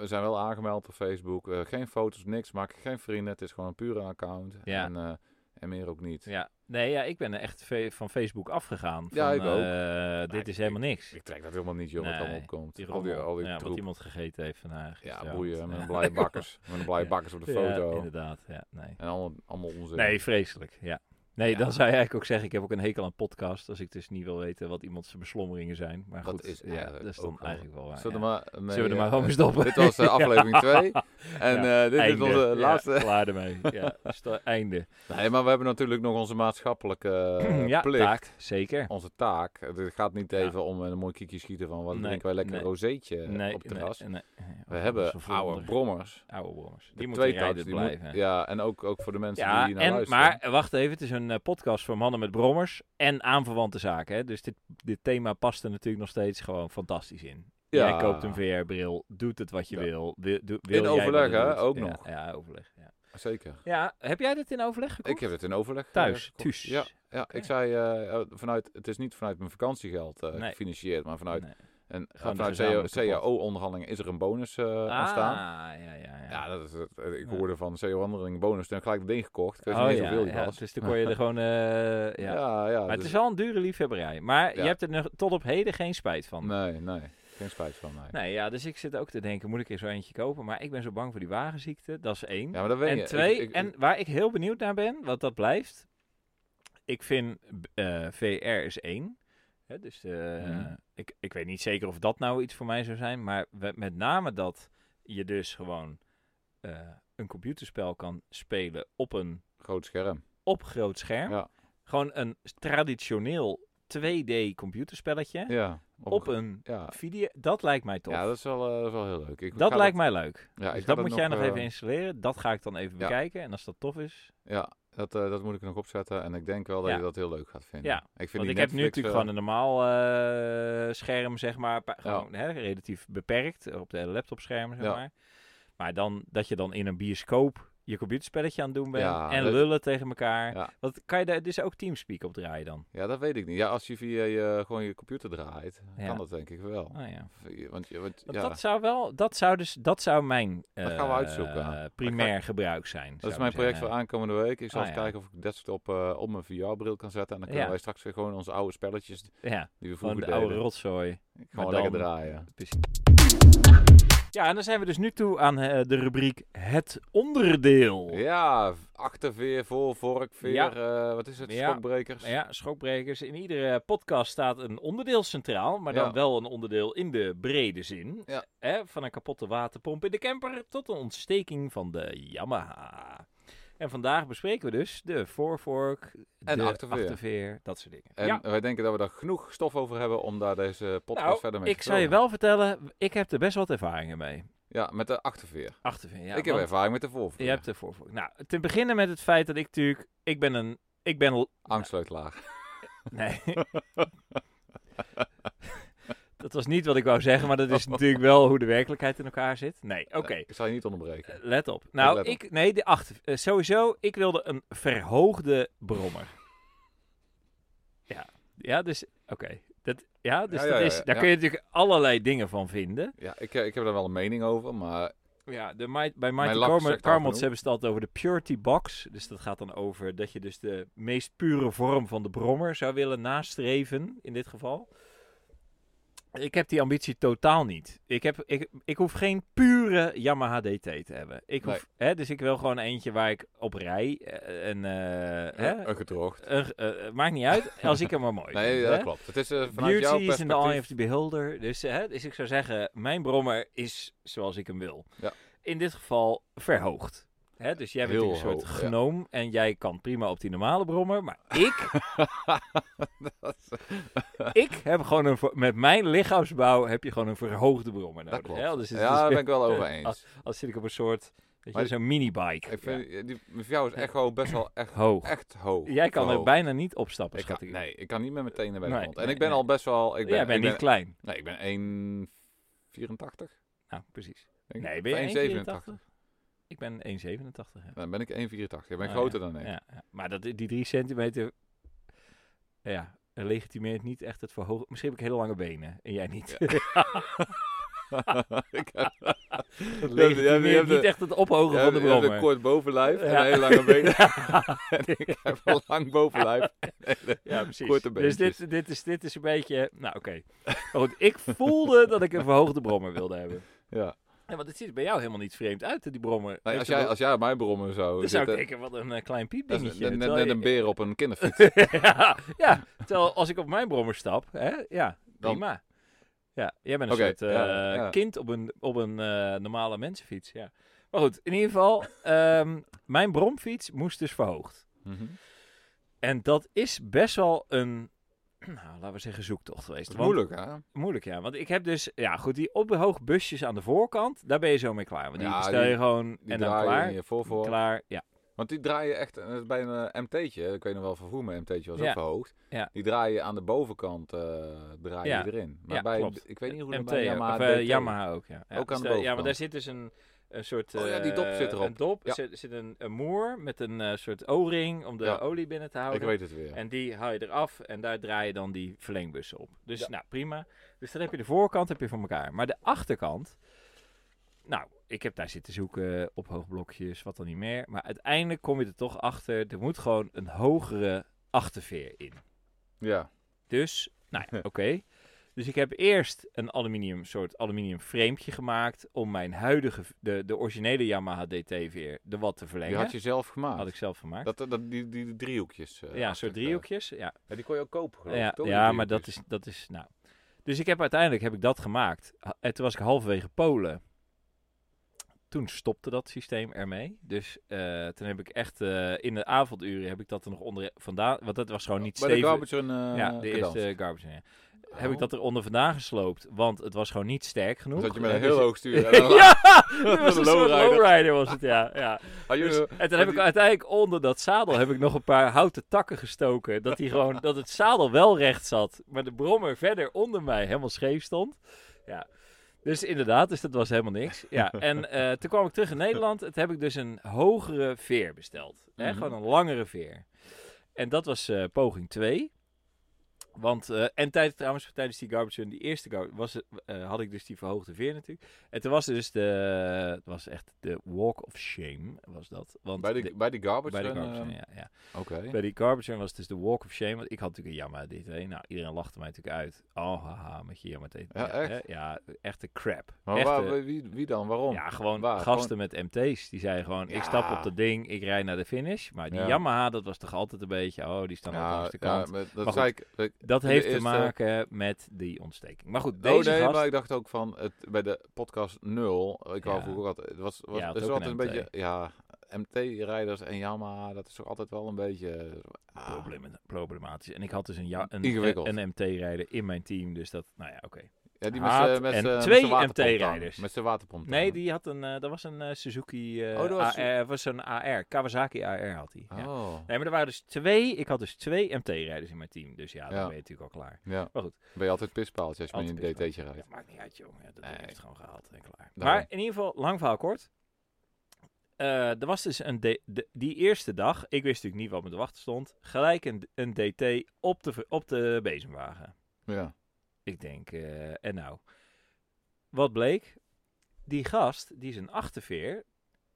Speaker 2: we zijn wel aangemeld op Facebook. eh, geen foto's, niks, maak geen vrienden. Het is gewoon een pure account.
Speaker 1: Ja.
Speaker 2: En, eh, en meer ook niet.
Speaker 1: Ja. Nee, ja, ik ben er echt ve- van Facebook afgegaan. van,
Speaker 2: Ja, ik ook.
Speaker 1: eh, dit
Speaker 2: ik-
Speaker 1: is helemaal niks.
Speaker 2: Ik trek dat helemaal niet, joh, wat
Speaker 1: Nee,
Speaker 2: allemaal opkomt.
Speaker 1: Die
Speaker 2: al die,
Speaker 1: rommel.
Speaker 2: al die
Speaker 1: ja, wat
Speaker 2: troep.
Speaker 1: iemand gegeten heeft vandaag.
Speaker 2: Ja,
Speaker 1: gisteravond.
Speaker 2: boeien, met een blije bakkers. met een blije
Speaker 1: Ja.
Speaker 2: bakkers op de
Speaker 1: Ja,
Speaker 2: foto.
Speaker 1: inderdaad. Ja, nee.
Speaker 2: en allemaal, allemaal onzin.
Speaker 1: nee, vreselijk. Ja. Nee,
Speaker 2: Ja.
Speaker 1: dan zou je eigenlijk ook zeggen, ik heb ook een hekel aan podcasts. Als ik dus niet wil weten wat iemands beslommeringen zijn. Maar
Speaker 2: Dat
Speaker 1: goed,
Speaker 2: is
Speaker 1: ja,
Speaker 2: eigenlijk
Speaker 1: dat is
Speaker 2: ook
Speaker 1: dan
Speaker 2: wel-
Speaker 1: eigenlijk wel waar.
Speaker 2: Zullen we
Speaker 1: ja.
Speaker 2: maar, mee,
Speaker 1: Zullen we er
Speaker 2: eh,
Speaker 1: maar gewoon mee stoppen?
Speaker 2: Dit was eh, aflevering 2. En
Speaker 1: Ja,
Speaker 2: eh, dit
Speaker 1: Einde.
Speaker 2: is onze
Speaker 1: Ja,
Speaker 2: laatste.
Speaker 1: klaar ermee. Ja, dat is het einde.
Speaker 2: Nee, maar we hebben natuurlijk nog onze maatschappelijke eh,
Speaker 1: ja,
Speaker 2: plicht.
Speaker 1: taak, zeker.
Speaker 2: Onze taak. Het gaat niet
Speaker 1: Ja.
Speaker 2: even om een mooi kiekje schieten van wat
Speaker 1: Nee,
Speaker 2: drinken wij lekker
Speaker 1: nee.
Speaker 2: een rozeetje
Speaker 1: nee,
Speaker 2: op het terras.
Speaker 1: nee, nee.
Speaker 2: We
Speaker 1: Ja, dat
Speaker 2: hebben
Speaker 1: is een
Speaker 2: oude
Speaker 1: volgende.
Speaker 2: brommers.
Speaker 1: oude brommers.
Speaker 2: De
Speaker 1: Die moeten
Speaker 2: tweetouch,
Speaker 1: rijden
Speaker 2: die moet-
Speaker 1: blijven.
Speaker 2: ja, en ook, ook voor de mensen
Speaker 1: Ja,
Speaker 2: die hier naar
Speaker 1: en,
Speaker 2: luisteren.
Speaker 1: maar eh, wacht even, het is een eh, podcast voor mannen met brommers en aanverwante zaken. Hè? Dus dit, dit thema past er natuurlijk nog steeds gewoon fantastisch in.
Speaker 2: Ja.
Speaker 1: Jij koopt een VR-bril, doet het wat je
Speaker 2: Ja.
Speaker 1: wil. wil, doe- wil jij
Speaker 2: overleg,
Speaker 1: wat je
Speaker 2: hè,
Speaker 1: doet.
Speaker 2: ook
Speaker 1: Ja,
Speaker 2: nog.
Speaker 1: Ja, overleg. Ja.
Speaker 2: Zeker.
Speaker 1: ja, heb jij dit in overleg gekocht?
Speaker 2: Ik heb het in overleg. eh,
Speaker 1: Thuis,
Speaker 2: gekocht.
Speaker 1: thuis.
Speaker 2: Ja, ja
Speaker 1: Oké.
Speaker 2: ik zei, eh, eh, vanuit, het is niet vanuit mijn vakantiegeld eh,
Speaker 1: Nee.
Speaker 2: gefinancierd, maar vanuit,
Speaker 1: Nee.
Speaker 2: en,
Speaker 1: Gewoon de
Speaker 2: vanuit
Speaker 1: gezamenlijke pot.
Speaker 2: CAO-onderhandelingen is er een bonus eh
Speaker 1: Ah,
Speaker 2: ontstaan.
Speaker 1: ja, ja, ja.
Speaker 2: Ja, dat is, het. eh, ik
Speaker 1: Ja.
Speaker 2: hoorde van CO-handeling bonus. Toen heb ik gelijk dat ding gekocht. Ik weet
Speaker 1: Oh,
Speaker 2: niet
Speaker 1: ja,
Speaker 2: hoeveel die
Speaker 1: ja,
Speaker 2: was.
Speaker 1: Dus dan kon je er gewoon... eh, ja.
Speaker 2: Ja, ja.
Speaker 1: maar het
Speaker 2: dus-
Speaker 1: is wel een dure liefhebberij. Maar
Speaker 2: Ja.
Speaker 1: je hebt er nog tot op heden geen spijt van.
Speaker 2: Nee, nee. Geen spijt van, nee.
Speaker 1: Nee, ja, dus ik zit ook te denken, moet ik er zo eentje kopen? Maar ik ben zo bang voor die wagenziekte, dat is één.
Speaker 2: Ja, maar dat weet je.
Speaker 1: en
Speaker 2: Ik-
Speaker 1: twee,
Speaker 2: ik- ik-
Speaker 1: en waar ik heel benieuwd naar ben, want dat blijft. Ik vind eh, VR is één. Hè, dus eh,
Speaker 2: Mhm.
Speaker 1: ik, ik weet niet zeker of dat nou iets voor mij zou zijn. Maar we- met name dat je dus gewoon eh, een computerspel kan spelen op een
Speaker 2: Groot scherm.
Speaker 1: op groot scherm.
Speaker 2: Ja.
Speaker 1: Gewoon een traditioneel 2D computerspelletje.
Speaker 2: Ja.
Speaker 1: op een
Speaker 2: Ja,
Speaker 1: video. Dat lijkt mij tof.
Speaker 2: ja
Speaker 1: dat
Speaker 2: dat, is wel, eh, dat is wel heel leuk. Ik ga
Speaker 1: lijkt mij leuk.
Speaker 2: Ja,
Speaker 1: dus
Speaker 2: ik
Speaker 1: dat
Speaker 2: ga dat
Speaker 1: moet jij nog
Speaker 2: nog,
Speaker 1: even
Speaker 2: eh,
Speaker 1: installeren. Dat ga ik dan even
Speaker 2: ja.
Speaker 1: bekijken. En als dat tof is.
Speaker 2: Ja, dat, eh, dat moet ik er nog opzetten. En ik denk wel dat
Speaker 1: Ja.
Speaker 2: je dat heel leuk gaat vinden.
Speaker 1: Ja,
Speaker 2: ik vind
Speaker 1: Want
Speaker 2: die
Speaker 1: ik heb nu
Speaker 2: Netflix,
Speaker 1: natuurlijk
Speaker 2: eh,
Speaker 1: gewoon een normaal eh, scherm, zeg maar. pa- Gewoon hè, relatief beperkt. eh, Op de hele laptopscherm, zeg
Speaker 2: Ja.
Speaker 1: maar. Maar dan, dat je dan in een bioscoop je computerspelletje aan het doen bent.
Speaker 2: Ja,
Speaker 1: en
Speaker 2: dat-
Speaker 1: lullen tegen elkaar.
Speaker 2: Ja.
Speaker 1: Want kan je daar dus ook Teamspeak op draaien dan?
Speaker 2: Ja, dat weet ik niet. Ja, als je via je, gewoon je computer draait,
Speaker 1: Ja.
Speaker 2: kan dat denk ik wel.
Speaker 1: Oh, ja.
Speaker 2: Want, je- want,
Speaker 1: Want
Speaker 2: ja,
Speaker 1: Dat zou wel, dat zou dus, dat zou mijn
Speaker 2: Dat
Speaker 1: eh,
Speaker 2: gaan we uitzoeken. Dat ga
Speaker 1: primair gebruik zijn.
Speaker 2: dat
Speaker 1: zou
Speaker 2: is
Speaker 1: ik
Speaker 2: mijn project voor
Speaker 1: zeggen.
Speaker 2: aankomende week. Ik zal
Speaker 1: Ah,
Speaker 2: eens
Speaker 1: ja.
Speaker 2: kijken of ik desktop eh op mijn VR-bril kan zetten. En dan kunnen
Speaker 1: Ja.
Speaker 2: wij straks weer gewoon onze oude spelletjes
Speaker 1: Ja,
Speaker 2: die
Speaker 1: gewoon
Speaker 2: we vroeger
Speaker 1: de oude
Speaker 2: deden,
Speaker 1: rotzooi.
Speaker 2: gewoon
Speaker 1: maar dan-
Speaker 2: lekker draaien.
Speaker 1: Precies. Ja, en dan zijn we dus nu toe aan eh, de rubriek het onderdeel.
Speaker 2: Ja, achterveer, voor, vorkveer,
Speaker 1: Oh. Ja.
Speaker 2: eh, wat is het,
Speaker 1: Ja.
Speaker 2: schokbrekers.
Speaker 1: Nou Ja, schokbrekers. In iedere podcast staat een onderdeel centraal, maar dan
Speaker 2: Ja.
Speaker 1: wel een onderdeel in de brede zin.
Speaker 2: Ja.
Speaker 1: Hè, van een kapotte waterpomp in de camper tot een ontsteking van de Yamaha. En vandaag bespreken we dus de voorvork,
Speaker 2: En
Speaker 1: de
Speaker 2: achterveer.
Speaker 1: dat soort dingen.
Speaker 2: En
Speaker 1: ja,
Speaker 2: wij denken dat we daar genoeg stof over hebben om daar deze podcast
Speaker 1: Nou,
Speaker 2: verder mee
Speaker 1: ik
Speaker 2: te
Speaker 1: zou je
Speaker 2: vullen.
Speaker 1: wel vertellen, ik heb er best wat ervaringen mee.
Speaker 2: Ja, met de achterveer.
Speaker 1: Achterveer, ja.
Speaker 2: ik heb
Speaker 1: want
Speaker 2: ervaring met de voorveer.
Speaker 1: Je hebt de voorvork. Nou, te beginnen met het feit dat ik natuurlijk, ik ben een, ik ben al,
Speaker 2: Angstleutlaag.
Speaker 1: Nee. dat was niet wat ik wou zeggen, maar dat
Speaker 2: Oh.
Speaker 1: is natuurlijk wel hoe de werkelijkheid in elkaar zit. Nee, oké.
Speaker 2: Ik zal je niet onderbreken.
Speaker 1: Eh, Let op. Nou,
Speaker 2: let op.
Speaker 1: ik, nee, de achter. eh, sowieso, ik wilde een verhoogde brommer. Ja, ja dus, oké. Dat, ja, dus
Speaker 2: Ja, ja,
Speaker 1: dat
Speaker 2: ja,
Speaker 1: is,
Speaker 2: ja,
Speaker 1: daar
Speaker 2: ja.
Speaker 1: kun je natuurlijk allerlei dingen van vinden.
Speaker 2: Ja, ik, ik heb daar wel een mening over, maar
Speaker 1: Ja, de, Mi- bij Mighty
Speaker 2: lak is
Speaker 1: Carmel- Carmels
Speaker 2: echt afgenomen.
Speaker 1: hebben ze het altijd over de Purity Box. Dus dat gaat dan over dat je dus de meest pure vorm van de brommer zou willen nastreven, in dit geval. Ik heb die ambitie totaal niet. Ik, heb, ik, ik hoef geen pure Yamaha DT te hebben. Ik hoef, hè, dus ik wil gewoon eentje waar ik op rij. eh, En, eh, hè,
Speaker 2: een gedroogd.
Speaker 1: een- eh, maakt niet uit, als ik hem maar mooi
Speaker 2: Nee,
Speaker 1: vind,
Speaker 2: ja,
Speaker 1: hè.
Speaker 2: dat klopt. Het is eh, vanuit jouw
Speaker 1: Beauty is in the eye
Speaker 2: perspectief.
Speaker 1: of the beholder. Dus, eh, hè, dus ik zou zeggen, mijn brommer is zoals ik hem wil.
Speaker 2: Ja.
Speaker 1: In dit geval verhoogd. Hè, dus jij bent
Speaker 2: Heel
Speaker 1: een soort
Speaker 2: hoog, ja.
Speaker 1: gnoom en jij kan prima op die normale brommer. Maar ik, ik heb gewoon een, ver- met mijn lichaamsbouw heb je gewoon een verhoogde brommer nodig.
Speaker 2: Dat klopt.
Speaker 1: hè. Dus het is
Speaker 2: ja, daar ben
Speaker 1: weer-
Speaker 2: ik wel over eens.
Speaker 1: als zit ik op een soort, weet je,
Speaker 2: Maar-
Speaker 1: zo'n minibike.
Speaker 2: Ik vind, eh, die, voor jou is echo best wel echt,
Speaker 1: Ja. Hoog.
Speaker 2: echt hoog.
Speaker 1: Jij kan er
Speaker 2: Hoog.
Speaker 1: bijna niet opstappen,
Speaker 2: Ik
Speaker 1: schat
Speaker 2: kan,
Speaker 1: ik.
Speaker 2: nee, ik kan niet met mijn tenen bij de
Speaker 1: Nee,
Speaker 2: grond. En
Speaker 1: nee,
Speaker 2: ik ben
Speaker 1: nee.
Speaker 2: al best wel... Ik ben,
Speaker 1: Jij bent
Speaker 2: ik
Speaker 1: niet
Speaker 2: ben,
Speaker 1: klein.
Speaker 2: Nee, ik ben 1,84.
Speaker 1: Nou, precies.
Speaker 2: denk ik.
Speaker 1: Nee, ben
Speaker 2: Of
Speaker 1: je Oh,
Speaker 2: 1,87.
Speaker 1: 1,87? Ik ben 1,87. ja.
Speaker 2: Dan ben ik 1,84. Ik ben
Speaker 1: Oh,
Speaker 2: groter dan ik.
Speaker 1: Ja, ja. maar dat, die drie centimeter ja, legitimeert niet echt het verhogen. Misschien heb ik hele lange benen en jij niet.
Speaker 2: ik
Speaker 1: dat
Speaker 2: heb, je hebt- je
Speaker 1: legitimeert
Speaker 2: hebt
Speaker 1: niet
Speaker 2: de-
Speaker 1: echt het ophogen
Speaker 2: je
Speaker 1: van
Speaker 2: hebt-
Speaker 1: de
Speaker 2: je hebt een
Speaker 1: brommer.
Speaker 2: kort bovenlijf en
Speaker 1: Ja.
Speaker 2: een hele lange benen. ik heb een lang bovenlijf.
Speaker 1: ja, precies.
Speaker 2: korte
Speaker 1: dus dit,
Speaker 2: beentjes.
Speaker 1: dit, is, dit is een beetje... Nou, oké. Maar goed, ik voelde dat ik een verhoogde brommer wilde hebben.
Speaker 2: Ja.
Speaker 1: Ja, want het ziet er bij jou helemaal niet vreemd uit, hè, die brommer.
Speaker 2: Nee,
Speaker 1: Heeft
Speaker 2: als,
Speaker 1: het
Speaker 2: jij,
Speaker 1: wel-
Speaker 2: als jij op mijn brommen zou
Speaker 1: dan zou ik
Speaker 2: zitten,
Speaker 1: denken, wat een eh, klein
Speaker 2: dat is
Speaker 1: piepdingetje.
Speaker 2: net, net,
Speaker 1: Terwijl
Speaker 2: net
Speaker 1: je-
Speaker 2: een beer op een kinderfiets.
Speaker 1: ja, ja, terwijl als ik op mijn brommer stap, hè, ja,
Speaker 2: Dan-
Speaker 1: prima. Ja, jij bent een
Speaker 2: Oké,
Speaker 1: soort eh,
Speaker 2: ja, ja.
Speaker 1: kind op een, op een eh, normale mensenfiets, ja. Maar goed, in ieder geval, ehm, mijn bromfiets moest dus verhoogd.
Speaker 2: Mhm.
Speaker 1: En dat is best wel een, nou, laten we zeggen, zoektocht geweest.
Speaker 2: Dat is
Speaker 1: Want-
Speaker 2: moeilijk, hè?
Speaker 1: Moeilijk, ja. Want ik heb dus, ja goed, die opbehoogd busjes aan de voorkant, daar ben je zo mee klaar. Want die
Speaker 2: Ja,
Speaker 1: bestel je
Speaker 2: die-
Speaker 1: gewoon
Speaker 2: Die
Speaker 1: en dan
Speaker 2: draaien
Speaker 1: klaar.
Speaker 2: in je voorvoor.
Speaker 1: Klaar, ja.
Speaker 2: Want die draaien echt eh, bij een MT'tje. Ik weet nog wel van vroeger, mijn MT'tje was
Speaker 1: Ja.
Speaker 2: ook verhoogd.
Speaker 1: Ja.
Speaker 2: Die draaien aan de bovenkant eh draai
Speaker 1: Ja.
Speaker 2: je erin. Maar
Speaker 1: Ja,
Speaker 2: bij,
Speaker 1: klopt.
Speaker 2: ik weet niet hoe dat
Speaker 1: MT,
Speaker 2: bij
Speaker 1: ja,
Speaker 2: Yamaha,
Speaker 1: of, eh,
Speaker 2: DT.
Speaker 1: Yamaha ook, ja. ja
Speaker 2: Ook
Speaker 1: dus daar-
Speaker 2: aan de
Speaker 1: Ja, maar
Speaker 2: bovenkant.
Speaker 1: daar zit dus een, een soort...
Speaker 2: Oh ja, die dop
Speaker 1: eh,
Speaker 2: zit erop.
Speaker 1: Een dop,
Speaker 2: Ja.
Speaker 1: zit, zit een, een moer met een eh, soort O-ring om de
Speaker 2: Ja.
Speaker 1: olie binnen te houden.
Speaker 2: Ik weet het weer.
Speaker 1: En die haal je eraf en daar draai je dan die verlengbussen op. Dus
Speaker 2: Ja.
Speaker 1: nou, prima. Dus dan heb je de voorkant heb je van elkaar. Maar de achterkant... Nou, ik heb daar zitten zoeken op hoogblokjes, wat dan niet meer. Maar uiteindelijk kom je er toch achter, er moet gewoon een hogere achterveer in.
Speaker 2: Ja.
Speaker 1: Dus, nou ja, oké. Dus ik heb eerst een aluminium, soort aluminium frameetje gemaakt om mijn huidige, de, de originele Yamaha DT weer de wat te
Speaker 2: Die
Speaker 1: verlengen.
Speaker 2: had je zelf gemaakt.
Speaker 1: Had ik zelf gemaakt.
Speaker 2: dat, dat, die, die, die driehoekjes. eh,
Speaker 1: ja, een
Speaker 2: achter
Speaker 1: soort
Speaker 2: elkaar.
Speaker 1: driehoekjes. Ja,
Speaker 2: Ja, die kon je ook kopen, geloof
Speaker 1: ja,
Speaker 2: ik, toch?
Speaker 1: ja
Speaker 2: Die
Speaker 1: maar dat
Speaker 2: driehoekjes.
Speaker 1: is, dat is, nou. Dus ik heb uiteindelijk heb ik dat gemaakt. Ha- En toen was ik halverwege Polen. Toen stopte dat systeem ermee. Dus eh, toen heb ik echt eh, in de avonduren heb ik dat er nog onder vandaan. Want dat was gewoon niet
Speaker 2: Bij de
Speaker 1: stevig.
Speaker 2: garbage een
Speaker 1: Ja, de eerste garbage. in, ja. heb ik dat eronder vandaan gesloopt, want het was gewoon niet sterk genoeg.
Speaker 2: Dus dat je met een
Speaker 1: En
Speaker 2: heel
Speaker 1: dus-
Speaker 2: hoog stuur. en dan-
Speaker 1: Ja, dat was
Speaker 2: Een
Speaker 1: een soort
Speaker 2: lowrider.
Speaker 1: lowrider was het, ja. ja.
Speaker 2: Had je-
Speaker 1: Dus- en toen
Speaker 2: had
Speaker 1: heb ik uiteindelijk onder dat zadel heb ik nog een paar houten takken gestoken. Dat, die gewoon, dat het zadel wel recht zat, maar de brommer verder onder mij helemaal scheef stond. Ja. Dus inderdaad, dus dat was helemaal niks. Ja, en eh, toen kwam ik terug in Nederland. Toen heb ik dus een hogere veer besteld. Hè?
Speaker 2: Mhm.
Speaker 1: Gewoon een langere veer. En dat was eh, poging 2. Want, eh, en tijdens, trouwens, tijdens die garbage run, die eerste garbage was, het- eh, had ik dus die verhoogde veer natuurlijk. En toen was er dus de, het was echt de walk of shame, was dat. Want
Speaker 2: Bij
Speaker 1: de-
Speaker 2: de, bij de garbage?
Speaker 1: bij de
Speaker 2: run,
Speaker 1: garbage
Speaker 2: eh,
Speaker 1: run, ja, ja.
Speaker 2: Oké.
Speaker 1: Bij die garbage run was het dus de walk of shame, want ik had natuurlijk een jammer dit, hè. Nou, iedereen lachte mij natuurlijk uit. Oh, haha, met je jammer dit.
Speaker 2: Ja, echt?
Speaker 1: hè. Ja, echte crap.
Speaker 2: Maar
Speaker 1: Echte-
Speaker 2: waar, wie, wie dan? Waarom?
Speaker 1: eh, ja, gewoon
Speaker 2: Waar?
Speaker 1: gasten met MT's. Die zeiden gewoon,
Speaker 2: Ja.
Speaker 1: ik stap op dat ding, ik rijd naar de finish. Maar die
Speaker 2: Ja.
Speaker 1: Yamaha, dat was toch altijd een beetje, oh, die staan altijd
Speaker 2: Ja,
Speaker 1: langs de
Speaker 2: ja,
Speaker 1: kant.
Speaker 2: maar dat
Speaker 1: Maar
Speaker 2: zei ik. dat-
Speaker 1: Dat
Speaker 2: In de
Speaker 1: heeft te
Speaker 2: eerste-
Speaker 1: maken met die ontsteking. Maar goed,
Speaker 2: oh
Speaker 1: deze
Speaker 2: nee,
Speaker 1: gast...
Speaker 2: maar ik dacht ook van het, bij de podcast 0. Ik wou
Speaker 1: Ja.
Speaker 2: vroeger ook altijd. Het was, was,
Speaker 1: Ja, had
Speaker 2: er
Speaker 1: ook
Speaker 2: zat
Speaker 1: een
Speaker 2: een
Speaker 1: MT.
Speaker 2: beetje. Ja, MT-rijders en Yamaha, dat is toch altijd wel een beetje. ah,
Speaker 1: Problemen- problematisch. En ik had dus een, ja, een,
Speaker 2: Ingewikkeld.
Speaker 1: een MT-rijder in mijn team, dus dat... Nou ja, oké.
Speaker 2: ja, die
Speaker 1: Haat
Speaker 2: met, z'n- met,
Speaker 1: en
Speaker 2: z'n- met
Speaker 1: twee
Speaker 2: z'n waterpomp dan.
Speaker 1: MT-rijders.
Speaker 2: Met zijn waterpomp.
Speaker 1: Nee,
Speaker 2: dan.
Speaker 1: die had een... eh, dat was een eh, Suzuki eh
Speaker 2: Oh, dat was-
Speaker 1: AR. was een AR. Kawasaki AR had hij. Ja.
Speaker 2: Oh.
Speaker 1: Nee, maar er waren dus twee... Ik had dus twee MT-rijders in mijn team. Dus ja, dan
Speaker 2: Ja.
Speaker 1: ben je natuurlijk al klaar.
Speaker 2: Ja.
Speaker 1: Maar goed.
Speaker 2: Ben je altijd pispaaltje als je
Speaker 1: Altijd
Speaker 2: in een DT'tje
Speaker 1: Ja,
Speaker 2: rijdt?
Speaker 1: maakt niet uit, jongen. Dat
Speaker 2: Nee.
Speaker 1: ding heeft het gewoon gehaald en klaar.
Speaker 2: Daarom.
Speaker 1: Maar in ieder geval, lang verhaal kort. Eh, er was dus een D- de- die eerste dag, ik wist natuurlijk niet wat me te wachten stond, gelijk een, een DT op de, ver- op de bezemwagen.
Speaker 2: Ja.
Speaker 1: Ik denk, eh, en nou. Wat bleek? Die gast, die is een achterveer,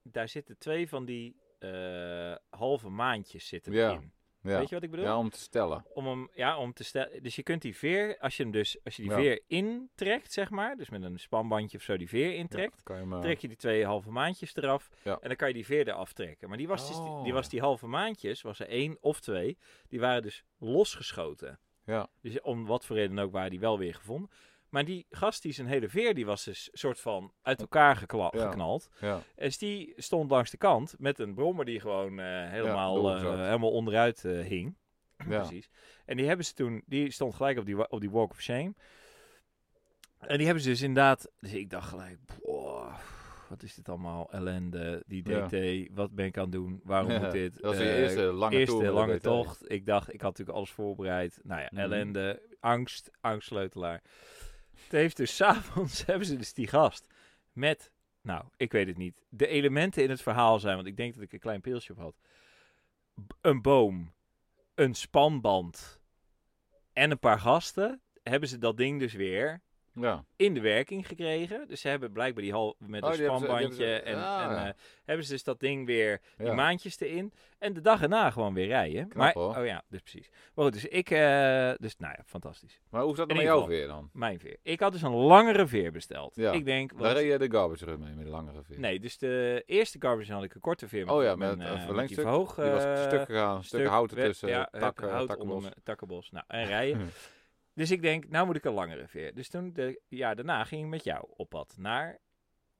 Speaker 1: daar zitten twee van die eh, halve maandjes zitten
Speaker 2: Ja,
Speaker 1: in.
Speaker 2: Ja.
Speaker 1: Weet je wat ik bedoel?
Speaker 2: ja, om te stellen.
Speaker 1: om hem, ja, om te stellen. Dus je kunt die veer, als je hem dus, als je die
Speaker 2: Ja.
Speaker 1: veer intrekt, zeg maar, dus met een spanbandje of zo die veer intrekt,
Speaker 2: Ja, kan je hem, eh,
Speaker 1: trek je die twee halve maandjes eraf
Speaker 2: Ja.
Speaker 1: en dan kan je die veer eraf trekken. Maar die was, dus die, die
Speaker 2: Oh.
Speaker 1: was die halve maandjes, was er één of twee, die waren dus losgeschoten.
Speaker 2: Ja.
Speaker 1: Dus om wat voor reden ook waren die wel weer gevonden. Maar die gast, die zijn hele veer, die was dus soort van uit elkaar gekla-
Speaker 2: Ja.
Speaker 1: geknald.
Speaker 2: ja.
Speaker 1: En dus die stond langs de kant met een brommer die gewoon eh, helemaal,
Speaker 2: doorgezakt.
Speaker 1: eh, helemaal onderuit eh, hing.
Speaker 2: Ja.
Speaker 1: Precies. En die hebben ze toen, die stond gelijk op die, wa- op die Walk of Shame. En die hebben ze dus inderdaad, dus ik dacht gelijk, boah, wat is dit allemaal, ellende, die
Speaker 2: Ja.
Speaker 1: DT, wat ben ik aan het doen, waarom
Speaker 2: Ja,
Speaker 1: moet dit?
Speaker 2: Dat was de
Speaker 1: Eh,
Speaker 2: eerste lange
Speaker 1: eerste
Speaker 2: tour met de
Speaker 1: lange
Speaker 2: DT.
Speaker 1: tocht. Ik dacht, ik had natuurlijk alles voorbereid. Nou ja,
Speaker 2: Mhm.
Speaker 1: ellende, angst, angstsleutelaar. Het heeft dus s'avonds hebben ze dus die gast met, nou, ik weet het niet. De elementen in het verhaal zijn, want ik denk dat ik een klein pilsje op had. B- Een boom, een spanband en een paar gasten. Hebben ze dat ding dus weer
Speaker 2: Ja.
Speaker 1: in de werking gekregen. Dus ze hebben blijkbaar die hal met
Speaker 2: Oh,
Speaker 1: een
Speaker 2: die hebben ze- die hebben
Speaker 1: spanbandje
Speaker 2: ze-
Speaker 1: en,
Speaker 2: Ah.
Speaker 1: en eh, hebben ze dus dat ding weer die
Speaker 2: ja.
Speaker 1: maandjes erin. En de dag erna gewoon weer rijden.
Speaker 2: Knap,
Speaker 1: maar,
Speaker 2: hoor.
Speaker 1: Oh ja, dus precies. Maar goed, dus ik... eh, dus nou ja, fantastisch.
Speaker 2: Maar hoe zat
Speaker 1: In
Speaker 2: het met
Speaker 1: ieder
Speaker 2: jou
Speaker 1: geval.
Speaker 2: weer dan?
Speaker 1: Mijn veer. Ik had dus een langere veer besteld.
Speaker 2: Ja.
Speaker 1: Ik denk...
Speaker 2: Daar
Speaker 1: Wat,
Speaker 2: reed je de garbage run mee met de langere veer.
Speaker 1: nee, dus de eerste garbage had ik een korte veer.
Speaker 2: Oh ja,
Speaker 1: mijn,
Speaker 2: met
Speaker 1: eh,
Speaker 2: een
Speaker 1: die
Speaker 2: verlengstuk.
Speaker 1: verhoog,
Speaker 2: Die was
Speaker 1: eh,
Speaker 2: stuk gegaan,
Speaker 1: stuk
Speaker 2: stukken hout
Speaker 1: werd-
Speaker 2: ertussen,
Speaker 1: ja, heb-
Speaker 2: takken,
Speaker 1: hout
Speaker 2: takken
Speaker 1: onder
Speaker 2: los. Hm.
Speaker 1: mijn takkenbos. Nou, en rijden. dus ik denk, nou moet ik een langere veer. Dus toen, de, ja, daarna ging ik met jou op pad naar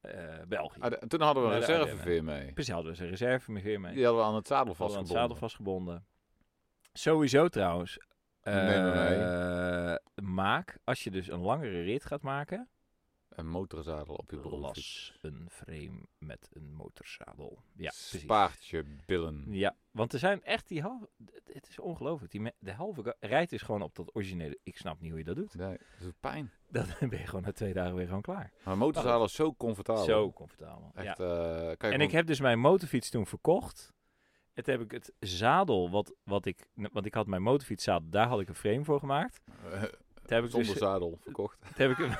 Speaker 1: eh, België. Dus
Speaker 2: Ah, de- toen hadden we een
Speaker 1: Naar de
Speaker 2: reserveveer mee.
Speaker 1: Precies hadden we zijn reserve veer mee.
Speaker 2: Die hadden we aan het zadel
Speaker 1: Hadden aan het
Speaker 2: vastgebonden.
Speaker 1: zadel vastgebonden. Sowieso trouwens. eh,
Speaker 2: Nee, nee,
Speaker 1: Maak, als je dus een langere rit gaat maken,
Speaker 2: Een motorzadel op je broek.
Speaker 1: las een frame met een motorzadel. Ja, precies.
Speaker 2: Spaart je billen.
Speaker 1: Ja, want er zijn echt die halve... het- Het is ongelooflijk. Die me- De halve ga- rijdt is gewoon op dat originele... Ik snap niet hoe je dat doet.
Speaker 2: Nee, dat doet pijn.
Speaker 1: Dan ben je gewoon na twee dagen weer gewoon klaar.
Speaker 2: Maar een motorzadel is zo comfortabel.
Speaker 1: Zo comfortabel. ja.
Speaker 2: Echt, eh, kan je
Speaker 1: En ik heb dus mijn motorfiets toen verkocht. Het heb ik het zadel, wat, wat ik, want ik had mijn motorfietszadel, daar had ik een frame voor gemaakt.
Speaker 2: gewoon, eh,
Speaker 1: Dat heb ik
Speaker 2: zonder
Speaker 1: dus
Speaker 2: zadel verkocht.
Speaker 1: Dat heb ik hem.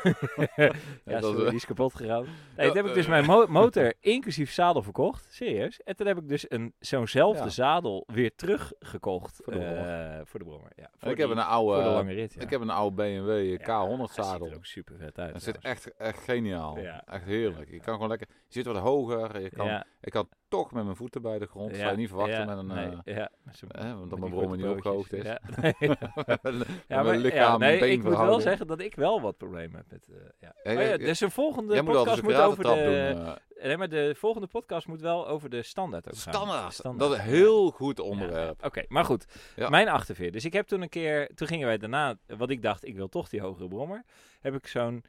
Speaker 1: ja,
Speaker 2: dat
Speaker 1: sorry,
Speaker 2: we-
Speaker 1: die is kapot gegaan. Nee, dat heb ik dus
Speaker 2: eh.
Speaker 1: mijn mo- motor inclusief zadel verkocht. Serieus. En toen heb ik dus een, zo'nzelfde
Speaker 2: Ja.
Speaker 1: zadel weer teruggekocht.
Speaker 2: Voor de brommer.
Speaker 1: eh, voor de brommer. Ja,
Speaker 2: En
Speaker 1: voor
Speaker 2: ik heb
Speaker 1: die-
Speaker 2: een
Speaker 1: voor de
Speaker 2: oude,
Speaker 1: lange rit. Ja.
Speaker 2: ik heb een oude BMW
Speaker 1: Ja,
Speaker 2: K100
Speaker 1: hij ziet er
Speaker 2: eh, zadel.
Speaker 1: ook super vet uit.
Speaker 2: Dat zit
Speaker 1: trouwens.
Speaker 2: echt, echt geniaal.
Speaker 1: Ja.
Speaker 2: Echt heerlijk. Je kan gewoon lekker... Je zit wat hoger. Je kan,
Speaker 1: ja,
Speaker 2: Ik had toch met mijn voeten bij de grond. Zou je niet verwachten met een... eh,
Speaker 1: nee, ja, met zo'n-
Speaker 2: hè, want
Speaker 1: met
Speaker 2: dat
Speaker 1: die
Speaker 2: mijn brommer niet
Speaker 1: grote
Speaker 2: opgehoogd is.
Speaker 1: broodjes. Ja, nee.
Speaker 2: Met een- met
Speaker 1: Ja, maar
Speaker 2: mijn
Speaker 1: ja,
Speaker 2: lichaam en
Speaker 1: nee, ik moet wel
Speaker 2: beenverhouding.
Speaker 1: zeggen dat ik wel wat problemen heb met. eh, ja.
Speaker 2: Ja,
Speaker 1: Oh ja,
Speaker 2: ja, ja.
Speaker 1: dus een volgende
Speaker 2: Jij moet altijd
Speaker 1: podcast
Speaker 2: een
Speaker 1: moet over
Speaker 2: piratentrap doen.
Speaker 1: de.
Speaker 2: eh.
Speaker 1: Nee, maar de volgende podcast moet wel over de standaard ook gaan.
Speaker 2: Standaard.
Speaker 1: Standaard.
Speaker 2: Dat is een heel goed
Speaker 1: Ja,
Speaker 2: onderwerp.
Speaker 1: Oké, maar goed.
Speaker 2: Ja.
Speaker 1: Mijn achterveer. Dus ik heb toen een keer, toen gingen wij daarna, wat ik dacht, ik wil toch die hogere brommer. Heb ik zo'n,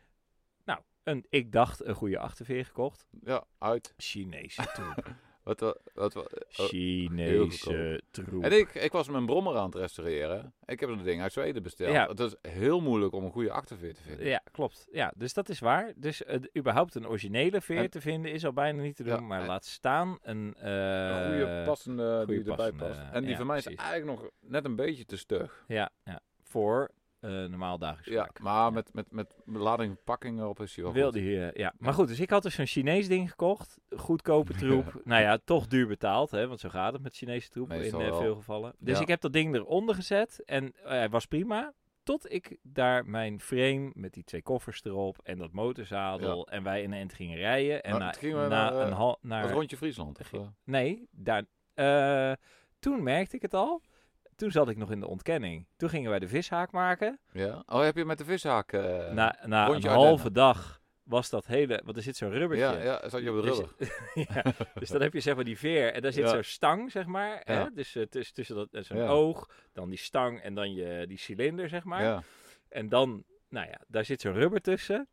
Speaker 1: nou, een, ik dacht een goede achterveer gekocht.
Speaker 2: Ja, uit.
Speaker 1: Chinese troep.
Speaker 2: Wat, we- wat, we-
Speaker 1: Chinese troep.
Speaker 2: Oh, En ik, ik was mijn brommer aan het restaureren. Ik heb een ding uit Zweden besteld.
Speaker 1: Ja.
Speaker 2: Het is heel moeilijk om een goede achterveer te vinden.
Speaker 1: Ja, klopt. Ja, dus dat is waar. Dus eh, überhaupt een originele veer
Speaker 2: En-
Speaker 1: te vinden is al bijna niet te doen,
Speaker 2: Ja,
Speaker 1: maar
Speaker 2: en-
Speaker 1: laat staan een... eh,
Speaker 2: Een goede passende
Speaker 1: goede
Speaker 2: die erbij
Speaker 1: passende,
Speaker 2: past. En die
Speaker 1: ja,
Speaker 2: van mij is
Speaker 1: precies.
Speaker 2: eigenlijk nog net een beetje te stug.
Speaker 1: Ja, ja, voor eh, normaal dagelijks
Speaker 2: Ja,
Speaker 1: gebruik.
Speaker 2: maar met, met, met lading pakking erop is hij wel
Speaker 1: Wil
Speaker 2: goed.
Speaker 1: die, eh, ja. Maar goed, dus ik had dus zo'n Chinees ding gekocht. Goedkope troep. Nou ja, toch duur betaald, hè, want zo gaat het met Chinese troep in
Speaker 2: Meestal
Speaker 1: eh,
Speaker 2: wel.
Speaker 1: veel gevallen. Dus
Speaker 2: Ja.
Speaker 1: ik heb dat ding eronder gezet en eh, hij was prima. Tot ik daar mijn frame met die twee koffers erop en dat motorzadel en wij in een eind gingen rijden. En
Speaker 2: Maar
Speaker 1: na,
Speaker 2: toen gingen we
Speaker 1: na
Speaker 2: naar, eh,
Speaker 1: een hal,
Speaker 2: Dat
Speaker 1: naar,
Speaker 2: rondje Friesland. of, eh?
Speaker 1: Nee, daar, eh, toen merkte ik het al. Toen zat ik nog in de ontkenning. Toen gingen wij de vishaak maken.
Speaker 2: ja. Oh, heb je met de vishaak... eh,
Speaker 1: na na een
Speaker 2: rondje
Speaker 1: halve
Speaker 2: Ardennen.
Speaker 1: dag was dat hele... Want er zit zo'n rubbertje.
Speaker 2: ja, ja, zat je op de
Speaker 1: Dus-
Speaker 2: rubber.
Speaker 1: ja, dus dan heb je zeg maar die veer en daar zit
Speaker 2: Ja.
Speaker 1: zo'n stang, zeg maar. Hè?
Speaker 2: Ja.
Speaker 1: Dus eh, tuss- tussen dat en zo'n
Speaker 2: Ja.
Speaker 1: oog, dan die stang en dan je, die cilinder, zeg maar.
Speaker 2: Ja.
Speaker 1: En dan, nou ja, daar zit zo'n rubber tussen.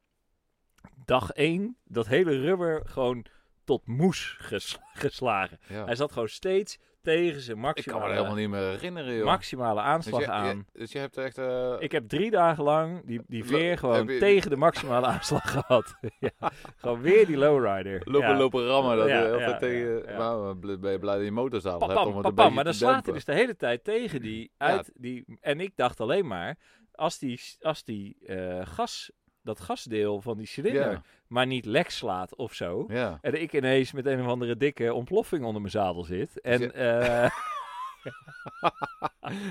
Speaker 1: Dag één, dat hele rubber gewoon tot moes ges- geslagen.
Speaker 2: ja.
Speaker 1: Hij zat gewoon steeds tegen zijn
Speaker 2: Ik kan me
Speaker 1: maximale,
Speaker 2: dat helemaal niet meer herinneren, joh.
Speaker 1: maximale
Speaker 2: Dus
Speaker 1: aanslag
Speaker 2: je- je-
Speaker 1: eh, aan.
Speaker 2: dus je hebt echt... eh,
Speaker 1: Ik heb drie dagen lang die, die
Speaker 2: Lo-
Speaker 1: veer gewoon
Speaker 2: heb je-
Speaker 1: tegen de maximale aanslag gehad. ja. Gewoon weer die lowrider.
Speaker 2: Lopen,
Speaker 1: ja.
Speaker 2: lopen rammen. Dat,
Speaker 1: Ja,
Speaker 2: eh, of
Speaker 1: ja,
Speaker 2: dat
Speaker 1: ja,
Speaker 2: tegen,
Speaker 1: ja.
Speaker 2: Maar bl- ben je blij dat je motorzaal hebt om
Speaker 1: Papam,
Speaker 2: het een
Speaker 1: papam.
Speaker 2: beetje
Speaker 1: Maar dan
Speaker 2: te
Speaker 1: slaat hij
Speaker 2: dempen.
Speaker 1: dus de hele tijd tegen die
Speaker 2: Ja.
Speaker 1: uit. Die, en ik dacht alleen maar, als die, als die eh, gas, dat gasdeel van die cilinder
Speaker 2: Ja.
Speaker 1: maar niet lek slaat of zo.
Speaker 2: Ja.
Speaker 1: En ik ineens met een of andere dikke ontploffing onder mijn zadel zit. En
Speaker 2: je-
Speaker 1: eh,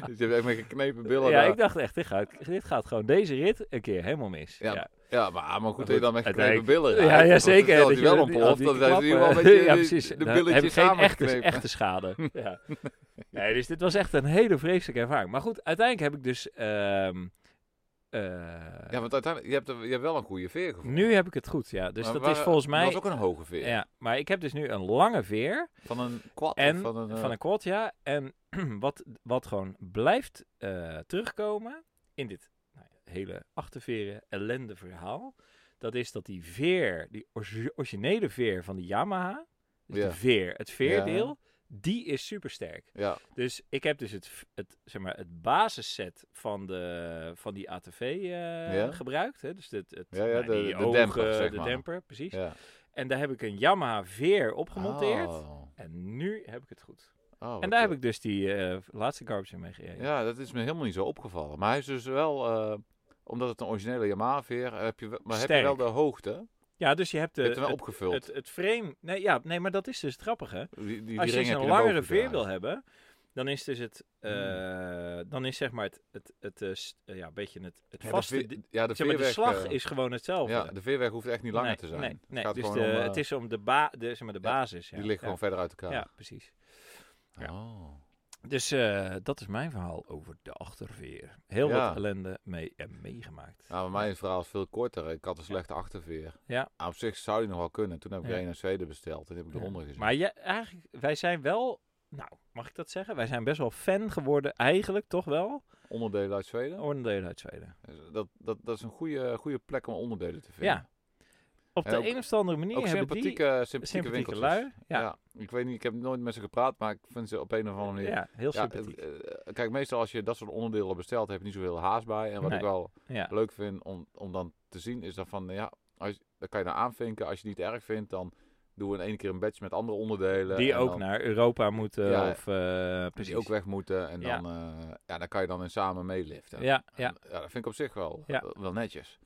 Speaker 2: Dus je hebt echt met geknepen billen
Speaker 1: ja,
Speaker 2: daar.
Speaker 1: ik dacht echt, dit gaat, dit gaat gewoon deze rit een keer helemaal mis.
Speaker 2: Ja,
Speaker 1: Ja, ja.
Speaker 2: Ja, maar, maar goed dat je
Speaker 1: goed,
Speaker 2: dan met geknepen
Speaker 1: uiteindelijk-
Speaker 2: billen
Speaker 1: ja,
Speaker 2: rijdt. Want
Speaker 1: zeker.
Speaker 2: Stel dat je wel
Speaker 1: met die- al
Speaker 2: ontploft,
Speaker 1: die
Speaker 2: dan zijn ze hier wel
Speaker 1: klappen-
Speaker 2: een beetje
Speaker 1: ja,
Speaker 2: de-
Speaker 1: precies. Nou,
Speaker 2: de
Speaker 1: Dan heb ik
Speaker 2: billetjes
Speaker 1: geen echte,
Speaker 2: samengeknepen.
Speaker 1: echte schade. ja. Nee, dus dit was echt een hele vreselijke ervaring. Maar goed, uiteindelijk heb ik dus... ehm, eh,
Speaker 2: Ja, want uiteindelijk, je hebt, er- je hebt wel een goede veer gevonden.
Speaker 1: nu heb ik het goed, ja. Dus
Speaker 2: Maar
Speaker 1: dat
Speaker 2: waar-
Speaker 1: is volgens mij...
Speaker 2: Dat was ook een hoge veer.
Speaker 1: ja, maar ik heb dus nu een lange veer.
Speaker 2: Van een quad. of
Speaker 1: En
Speaker 2: van een, eh,
Speaker 1: van een quad, ja. En wat, wat gewoon blijft eh, terugkomen in dit nou ja, hele achterveren ellende verhaal, dat is dat die veer, die orgi- originele veer van de Yamaha, dus
Speaker 2: Ja.
Speaker 1: de veer, het veerdeel, die is supersterk.
Speaker 2: ja,
Speaker 1: Dus ik heb dus het, v- het, zeg maar, het basisset van, de, van die ATV eh,
Speaker 2: Ja.
Speaker 1: gebruikt. Hè? Dus het, het,
Speaker 2: Ja, ja, de-
Speaker 1: die
Speaker 2: de demper, zeg
Speaker 1: de
Speaker 2: maar.
Speaker 1: demper, precies.
Speaker 2: ja.
Speaker 1: En daar heb ik een Yamaha veer op gemonteerd.
Speaker 2: Oh. Oh,
Speaker 1: En nu heb ik het goed.
Speaker 2: wat,
Speaker 1: En daar heb
Speaker 2: eh,
Speaker 1: ik dus die eh, laatste garbage in mee gereden.
Speaker 2: Ja, dat is me helemaal niet zo opgevallen. Maar hij is dus wel... eh, omdat het een originele Yamaha-veer heb je wel, maar heb je
Speaker 1: Sterk.
Speaker 2: wel de hoogte. Je
Speaker 1: Ja, dus je hebt de,
Speaker 2: hebt hem wel
Speaker 1: het,
Speaker 2: opgevuld.
Speaker 1: het, het frame... Nee, ja, nee, maar dat is dus het grappige.
Speaker 2: Die- die- die
Speaker 1: Als je
Speaker 2: ring
Speaker 1: dus
Speaker 2: heb
Speaker 1: een
Speaker 2: je naar
Speaker 1: langere
Speaker 2: boven
Speaker 1: veer
Speaker 2: gedraaid.
Speaker 1: wil hebben, dan is dus het... eh, Dan is zeg maar het... het, het eh, st- eh, ja, een beetje het, het
Speaker 2: Hmm. Ja, de
Speaker 1: vaste...
Speaker 2: veer-
Speaker 1: di-
Speaker 2: ja, de
Speaker 1: zeg maar, de
Speaker 2: veerweg,
Speaker 1: slag
Speaker 2: eh,
Speaker 1: is gewoon hetzelfde.
Speaker 2: Ja, de veerweg hoeft echt niet langer
Speaker 1: nee,
Speaker 2: te zijn.
Speaker 1: Nee, nee.
Speaker 2: gaat
Speaker 1: dus
Speaker 2: gewoon
Speaker 1: de,
Speaker 2: om, eh,
Speaker 1: het is om de, ba de, zeg maar de
Speaker 2: ja,
Speaker 1: basis. Ja,
Speaker 2: Die liggen
Speaker 1: ja.
Speaker 2: gewoon verder uit elkaar.
Speaker 1: Ja, precies. ja.
Speaker 2: Oh.
Speaker 1: Dus eh, dat is mijn verhaal over de achterveer. Heel
Speaker 2: Ja.
Speaker 1: wat ellende mee, eh, meegemaakt.
Speaker 2: Nou, bij mij is het verhaal is veel korter. Ik had een slechte achterveer.
Speaker 1: Ja.
Speaker 2: Maar op zich zou die nog wel kunnen. Toen heb ik
Speaker 1: Ja.
Speaker 2: er een naar Zweden besteld en die heb ik
Speaker 1: Ja.
Speaker 2: eronder gezet.
Speaker 1: Maar je, eigenlijk, wij zijn wel, nou, mag ik dat zeggen? Wij zijn best wel fan geworden, eigenlijk toch wel,
Speaker 2: Onderdelen uit Zweden. Dus
Speaker 1: oordelen uit Zweden.
Speaker 2: Dat, dat, dat is een goede, goede plek om onderdelen te vinden.
Speaker 1: Ja. Op
Speaker 2: En
Speaker 1: de
Speaker 2: ook-
Speaker 1: een of andere manier
Speaker 2: Ook
Speaker 1: hebben
Speaker 2: sympathieke,
Speaker 1: die
Speaker 2: sympathieke,
Speaker 1: sympathieke
Speaker 2: winkeltjes.
Speaker 1: lui.
Speaker 2: Ja.
Speaker 1: Ja,
Speaker 2: Ik weet niet, ik heb nooit met ze gepraat, maar ik vind ze op een of andere
Speaker 1: ja,
Speaker 2: manier...
Speaker 1: heel
Speaker 2: Ja,
Speaker 1: sympathiek.
Speaker 2: het- eh, kijk, meestal als je dat soort onderdelen bestelt, heb je niet zoveel haast bij. En wat
Speaker 1: Nee.
Speaker 2: ik wel
Speaker 1: Ja,
Speaker 2: leuk vind om, om dan te zien, is dan van nou ja, als, dan kan je dan aanvinken. Als je het niet erg vindt, dan doen we in één keer een batch met andere onderdelen.
Speaker 1: die
Speaker 2: en
Speaker 1: ook
Speaker 2: dan,
Speaker 1: naar Europa moeten
Speaker 2: Ja,
Speaker 1: of eh precies.
Speaker 2: Die ook weg moeten. En
Speaker 1: Ja.
Speaker 2: dan, eh, ja, dan kan je dan in samen meeliften.
Speaker 1: Ja,
Speaker 2: En,
Speaker 1: ja.
Speaker 2: ja, dat vind ik op zich wel,
Speaker 1: Ja.
Speaker 2: wel- wel netjes.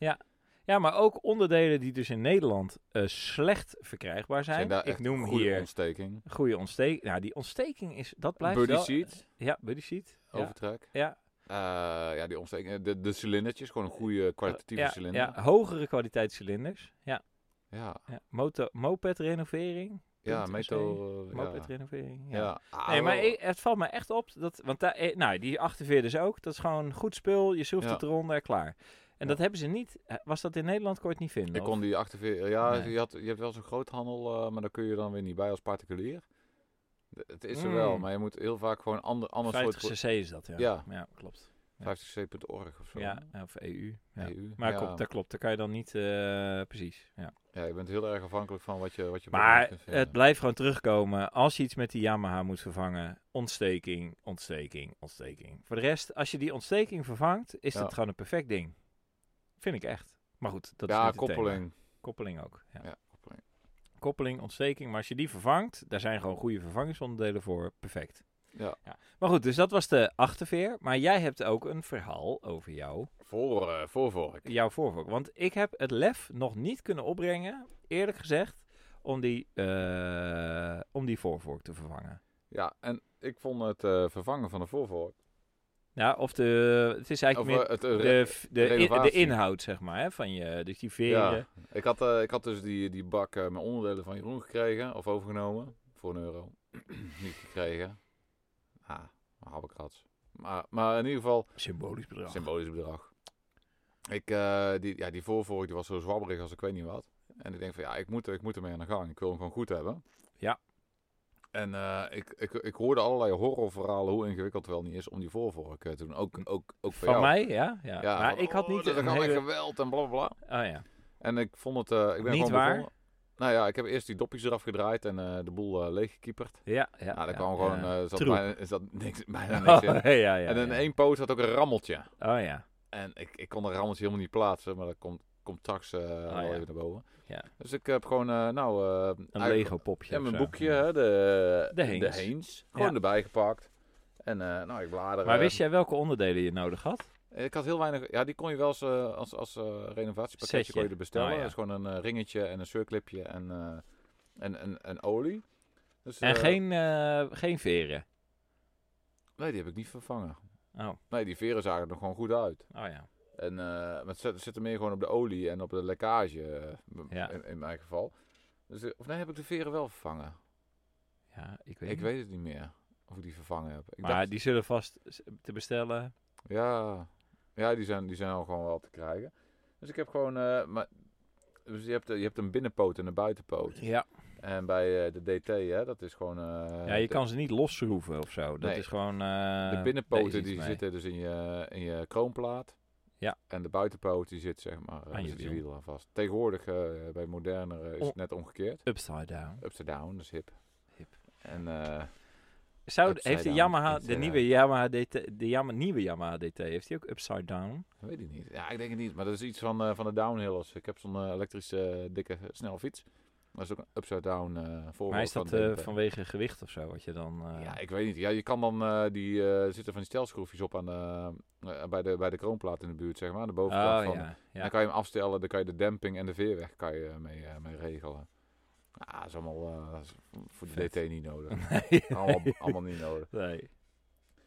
Speaker 1: ja, maar ook onderdelen die dus in Nederland eh, slecht verkrijgbaar zijn.
Speaker 2: Zijn daar
Speaker 1: Ik
Speaker 2: echt
Speaker 1: noem
Speaker 2: goede
Speaker 1: hier
Speaker 2: ontsteking.
Speaker 1: goede ontsteking. Nou, die ontsteking is, dat blijft
Speaker 2: Buddy
Speaker 1: wel...
Speaker 2: seat,
Speaker 1: Ja, buddy seat. Ja.
Speaker 2: overtrek.
Speaker 1: Ja.
Speaker 2: Eh, ja, die ontsteking. De, de cilindertjes, gewoon een goede kwalitatieve
Speaker 1: ja,
Speaker 2: cilinder.
Speaker 1: ja, hogere kwaliteit cilinders. Ja.
Speaker 2: ja.
Speaker 1: Ja, motor, moped renovering.
Speaker 2: Ja,
Speaker 1: Punt,
Speaker 2: meto... eh, ja.
Speaker 1: Mopedrenovering. Ja.
Speaker 2: Ja.
Speaker 1: Nee, maar
Speaker 2: Ah,
Speaker 1: ik- het valt me echt op. Dat, want daar, eh, nou, die achterveer dus ook. Dat is gewoon goed spul. Je schroeft
Speaker 2: Ja.
Speaker 1: het eronder, klaar. En
Speaker 2: Ja.
Speaker 1: dat hebben ze niet. eh, Was dat in Nederland kort niet vinden?
Speaker 2: Ik
Speaker 1: of?
Speaker 2: kon die 48... Ja,
Speaker 1: Nee.
Speaker 2: je, had, je hebt wel zo'n groothandel, eh, maar daar kun je dan weer niet bij als particulier. D- Het is er
Speaker 1: Mm.
Speaker 2: wel, maar je moet heel vaak gewoon ander, ander
Speaker 1: 50
Speaker 2: soort...
Speaker 1: cc is dat, ja.
Speaker 2: Ja.
Speaker 1: klopt.
Speaker 2: 50c.org of zo.
Speaker 1: Ja, of EU. Ja.
Speaker 2: EU.
Speaker 1: Maar
Speaker 2: ja.
Speaker 1: klopt, dat klopt. Daar kan je dan niet... eh, precies, ja.
Speaker 2: Ja, je bent heel erg afhankelijk van wat je, wat je belangrijk
Speaker 1: Maar
Speaker 2: kunt vinden.
Speaker 1: het blijft gewoon terugkomen. Als je iets met die Yamaha moet vervangen, ontsteking, ontsteking, ontsteking. Voor de rest, als je die ontsteking vervangt, is
Speaker 2: Ja.
Speaker 1: dat gewoon een perfect ding. Vind ik echt. Maar goed, dat is
Speaker 2: Ja,
Speaker 1: niet het thema.
Speaker 2: koppeling.
Speaker 1: Koppeling ook. Ja.
Speaker 2: Ja, koppeling.
Speaker 1: Koppeling, ontsteking. Maar als je die vervangt, daar zijn gewoon goede vervangingsonderdelen voor. Perfect.
Speaker 2: Ja.
Speaker 1: Maar goed, dus dat was de achterveer. Maar jij hebt ook een verhaal over jou,
Speaker 2: Voor, eh, voorvork.
Speaker 1: jouw voorvork. Want ik heb het lef nog niet kunnen opbrengen, eerlijk gezegd, om die, eh, om die voorvork te vervangen.
Speaker 2: Ja, en ik vond het eh, vervangen van de voorvork...
Speaker 1: Nou, of de, het is
Speaker 2: Of
Speaker 1: eigenlijk
Speaker 2: eh,
Speaker 1: meer
Speaker 2: het, eh,
Speaker 1: de, f- de, in- de
Speaker 2: renovatie.
Speaker 1: inhoud, zeg maar, hè, van je, dus die veren.
Speaker 2: Ja, ik had, eh, ik had dus die, die bak eh, met onderdelen van Jeroen gekregen, of overgenomen, voor een euro. Niet gekregen. Ah, habbekrats. Maar, maar in ieder geval,
Speaker 1: Symbolisch bedrag.
Speaker 2: symbolisch bedrag. Ik, eh, die, ja, die voorvork die was zo zwabberig als ik weet niet wat. En ik denk van, ja, ik moet, ik moet ermee aan de gang. Ik wil hem gewoon goed hebben.
Speaker 1: Ja.
Speaker 2: En eh, ik, ik, ik hoorde allerlei horrorverhalen hoe ingewikkeld het wel niet is om die voorvork eh, te doen. Ook, ook, ook voor
Speaker 1: van
Speaker 2: jou.
Speaker 1: mij, ja. ja.
Speaker 2: Ja,
Speaker 1: maar
Speaker 2: van,
Speaker 1: ik had
Speaker 2: oh,
Speaker 1: niet
Speaker 2: dat
Speaker 1: een
Speaker 2: kan met
Speaker 1: hele...
Speaker 2: geweld en bla bla, bla.
Speaker 1: Oh ja.
Speaker 2: En ik vond het... eh, ik ben
Speaker 1: Niet
Speaker 2: gewoon
Speaker 1: waar?
Speaker 2: begonnen- Nou ja, ik heb eerst die dopjes eraf gedraaid en eh, de boel eh, leeggekieperd.
Speaker 1: Ja, ja.
Speaker 2: nou, daar
Speaker 1: ja,
Speaker 2: kwam gewoon...
Speaker 1: ja.
Speaker 2: eh, zat
Speaker 1: Troep.
Speaker 2: bijna, er zat niks, bijna niks in.
Speaker 1: Oh, ja, ja,
Speaker 2: en in
Speaker 1: ja.
Speaker 2: één poot zat ook een e- rammeltje.
Speaker 1: Oh ja.
Speaker 2: En ik, ik kon dat rammeltje helemaal niet plaatsen, maar dat komt, komt straks eh, wel
Speaker 1: Oh, ja.
Speaker 2: even naar boven.
Speaker 1: Ja.
Speaker 2: Dus ik heb gewoon, eh, nou... eh,
Speaker 1: Een
Speaker 2: eigenlijk-
Speaker 1: Lego popje.
Speaker 2: Ja,
Speaker 1: of
Speaker 2: mijn
Speaker 1: zo.
Speaker 2: boekje, hè, de,
Speaker 1: De Heens.
Speaker 2: Gewoon
Speaker 1: Ja.
Speaker 2: erbij gepakt. En eh, nou, ik bladeren.
Speaker 1: Maar wist jij welke onderdelen je nodig had?
Speaker 2: Eh, Ik had heel weinig. Ja, die kon je wel eens eh, als, als eh, renovatiepakketje
Speaker 1: Setje.
Speaker 2: kon je er bestellen.
Speaker 1: Oh, ja.
Speaker 2: Dat is gewoon een eh, ringetje en een circlipje en, eh, en, en, en olie. Dus,
Speaker 1: En
Speaker 2: eh,
Speaker 1: geen, eh, geen veren.
Speaker 2: Nee, die heb ik niet vervangen.
Speaker 1: Oh, oh
Speaker 2: Nee, die veren zagen er nog gewoon goed uit.
Speaker 1: ja.
Speaker 2: En, eh, maar het zit, zit er meer gewoon op de olie en op de lekkage eh, m-
Speaker 1: Ja.
Speaker 2: in, in mijn geval. Dus, eh, of nee, heb ik de veren wel vervangen?
Speaker 1: Ja, ik weet
Speaker 2: Ik
Speaker 1: niet.
Speaker 2: weet het niet meer of ik die vervangen heb. Ik
Speaker 1: maar
Speaker 2: dacht-
Speaker 1: die zullen vast s- te bestellen.
Speaker 2: Ja, ja die, zijn, die zijn al gewoon wel te krijgen. Dus ik heb gewoon... eh, maar, dus je hebt, eh, je hebt een binnenpoot en een buitenpoot.
Speaker 1: Ja.
Speaker 2: En bij eh, de DT, hè, dat is gewoon... eh,
Speaker 1: ja, je
Speaker 2: de,
Speaker 1: kan ze niet losschroeven of zo. Dat
Speaker 2: Nee.
Speaker 1: is gewoon... eh,
Speaker 2: de
Speaker 1: daar is
Speaker 2: binnenpoten
Speaker 1: iets
Speaker 2: die
Speaker 1: mee.
Speaker 2: zitten dus in je, in je kroonplaat.
Speaker 1: Ja.
Speaker 2: En de buitenpoot die zit zeg maar eh,
Speaker 1: Aan je
Speaker 2: zit
Speaker 1: wiel.
Speaker 2: wiel aan vast. Tegenwoordig eh, bij modernere is
Speaker 1: Oh.
Speaker 2: het net omgekeerd.
Speaker 1: Upside down.
Speaker 2: Upside down, dat is dus hip.
Speaker 1: Hip.
Speaker 2: En eh,
Speaker 1: Zou,
Speaker 2: Upside
Speaker 1: heeft de
Speaker 2: down, eh,
Speaker 1: Yamaha, de
Speaker 2: upside
Speaker 1: nieuwe Yamaha DT, de Yama, nieuwe Yamaha DT, heeft die ook upside down?
Speaker 2: dat weet ik niet. Ja, ik denk het niet. Maar dat is iets van, eh, van de downhillers. Ik heb zo'n eh, elektrische eh, dikke eh, snelle fiets. Dat is ook een upside down eh voorbeeld
Speaker 1: maar is dat
Speaker 2: van de
Speaker 1: eh,
Speaker 2: DT.
Speaker 1: vanwege gewicht of zo? Wat je dan... eh,
Speaker 2: Ja, ik weet niet. Ja, je kan dan eh, die eh, zitten van die stelschroefjes op aan de, eh, bij, de, bij de kroonplaat in de buurt, zeg maar. aan De bovenkant
Speaker 1: oh,
Speaker 2: van.
Speaker 1: ja, ja.
Speaker 2: Dan kan je hem afstellen, dan kan je de demping en de veerweg kan je eh, mee, eh, mee regelen. Ah, dat is allemaal eh, dat is voor de
Speaker 1: Vet.
Speaker 2: DT niet nodig.
Speaker 1: Nee.
Speaker 2: allemaal, allemaal niet nodig.
Speaker 1: Nee.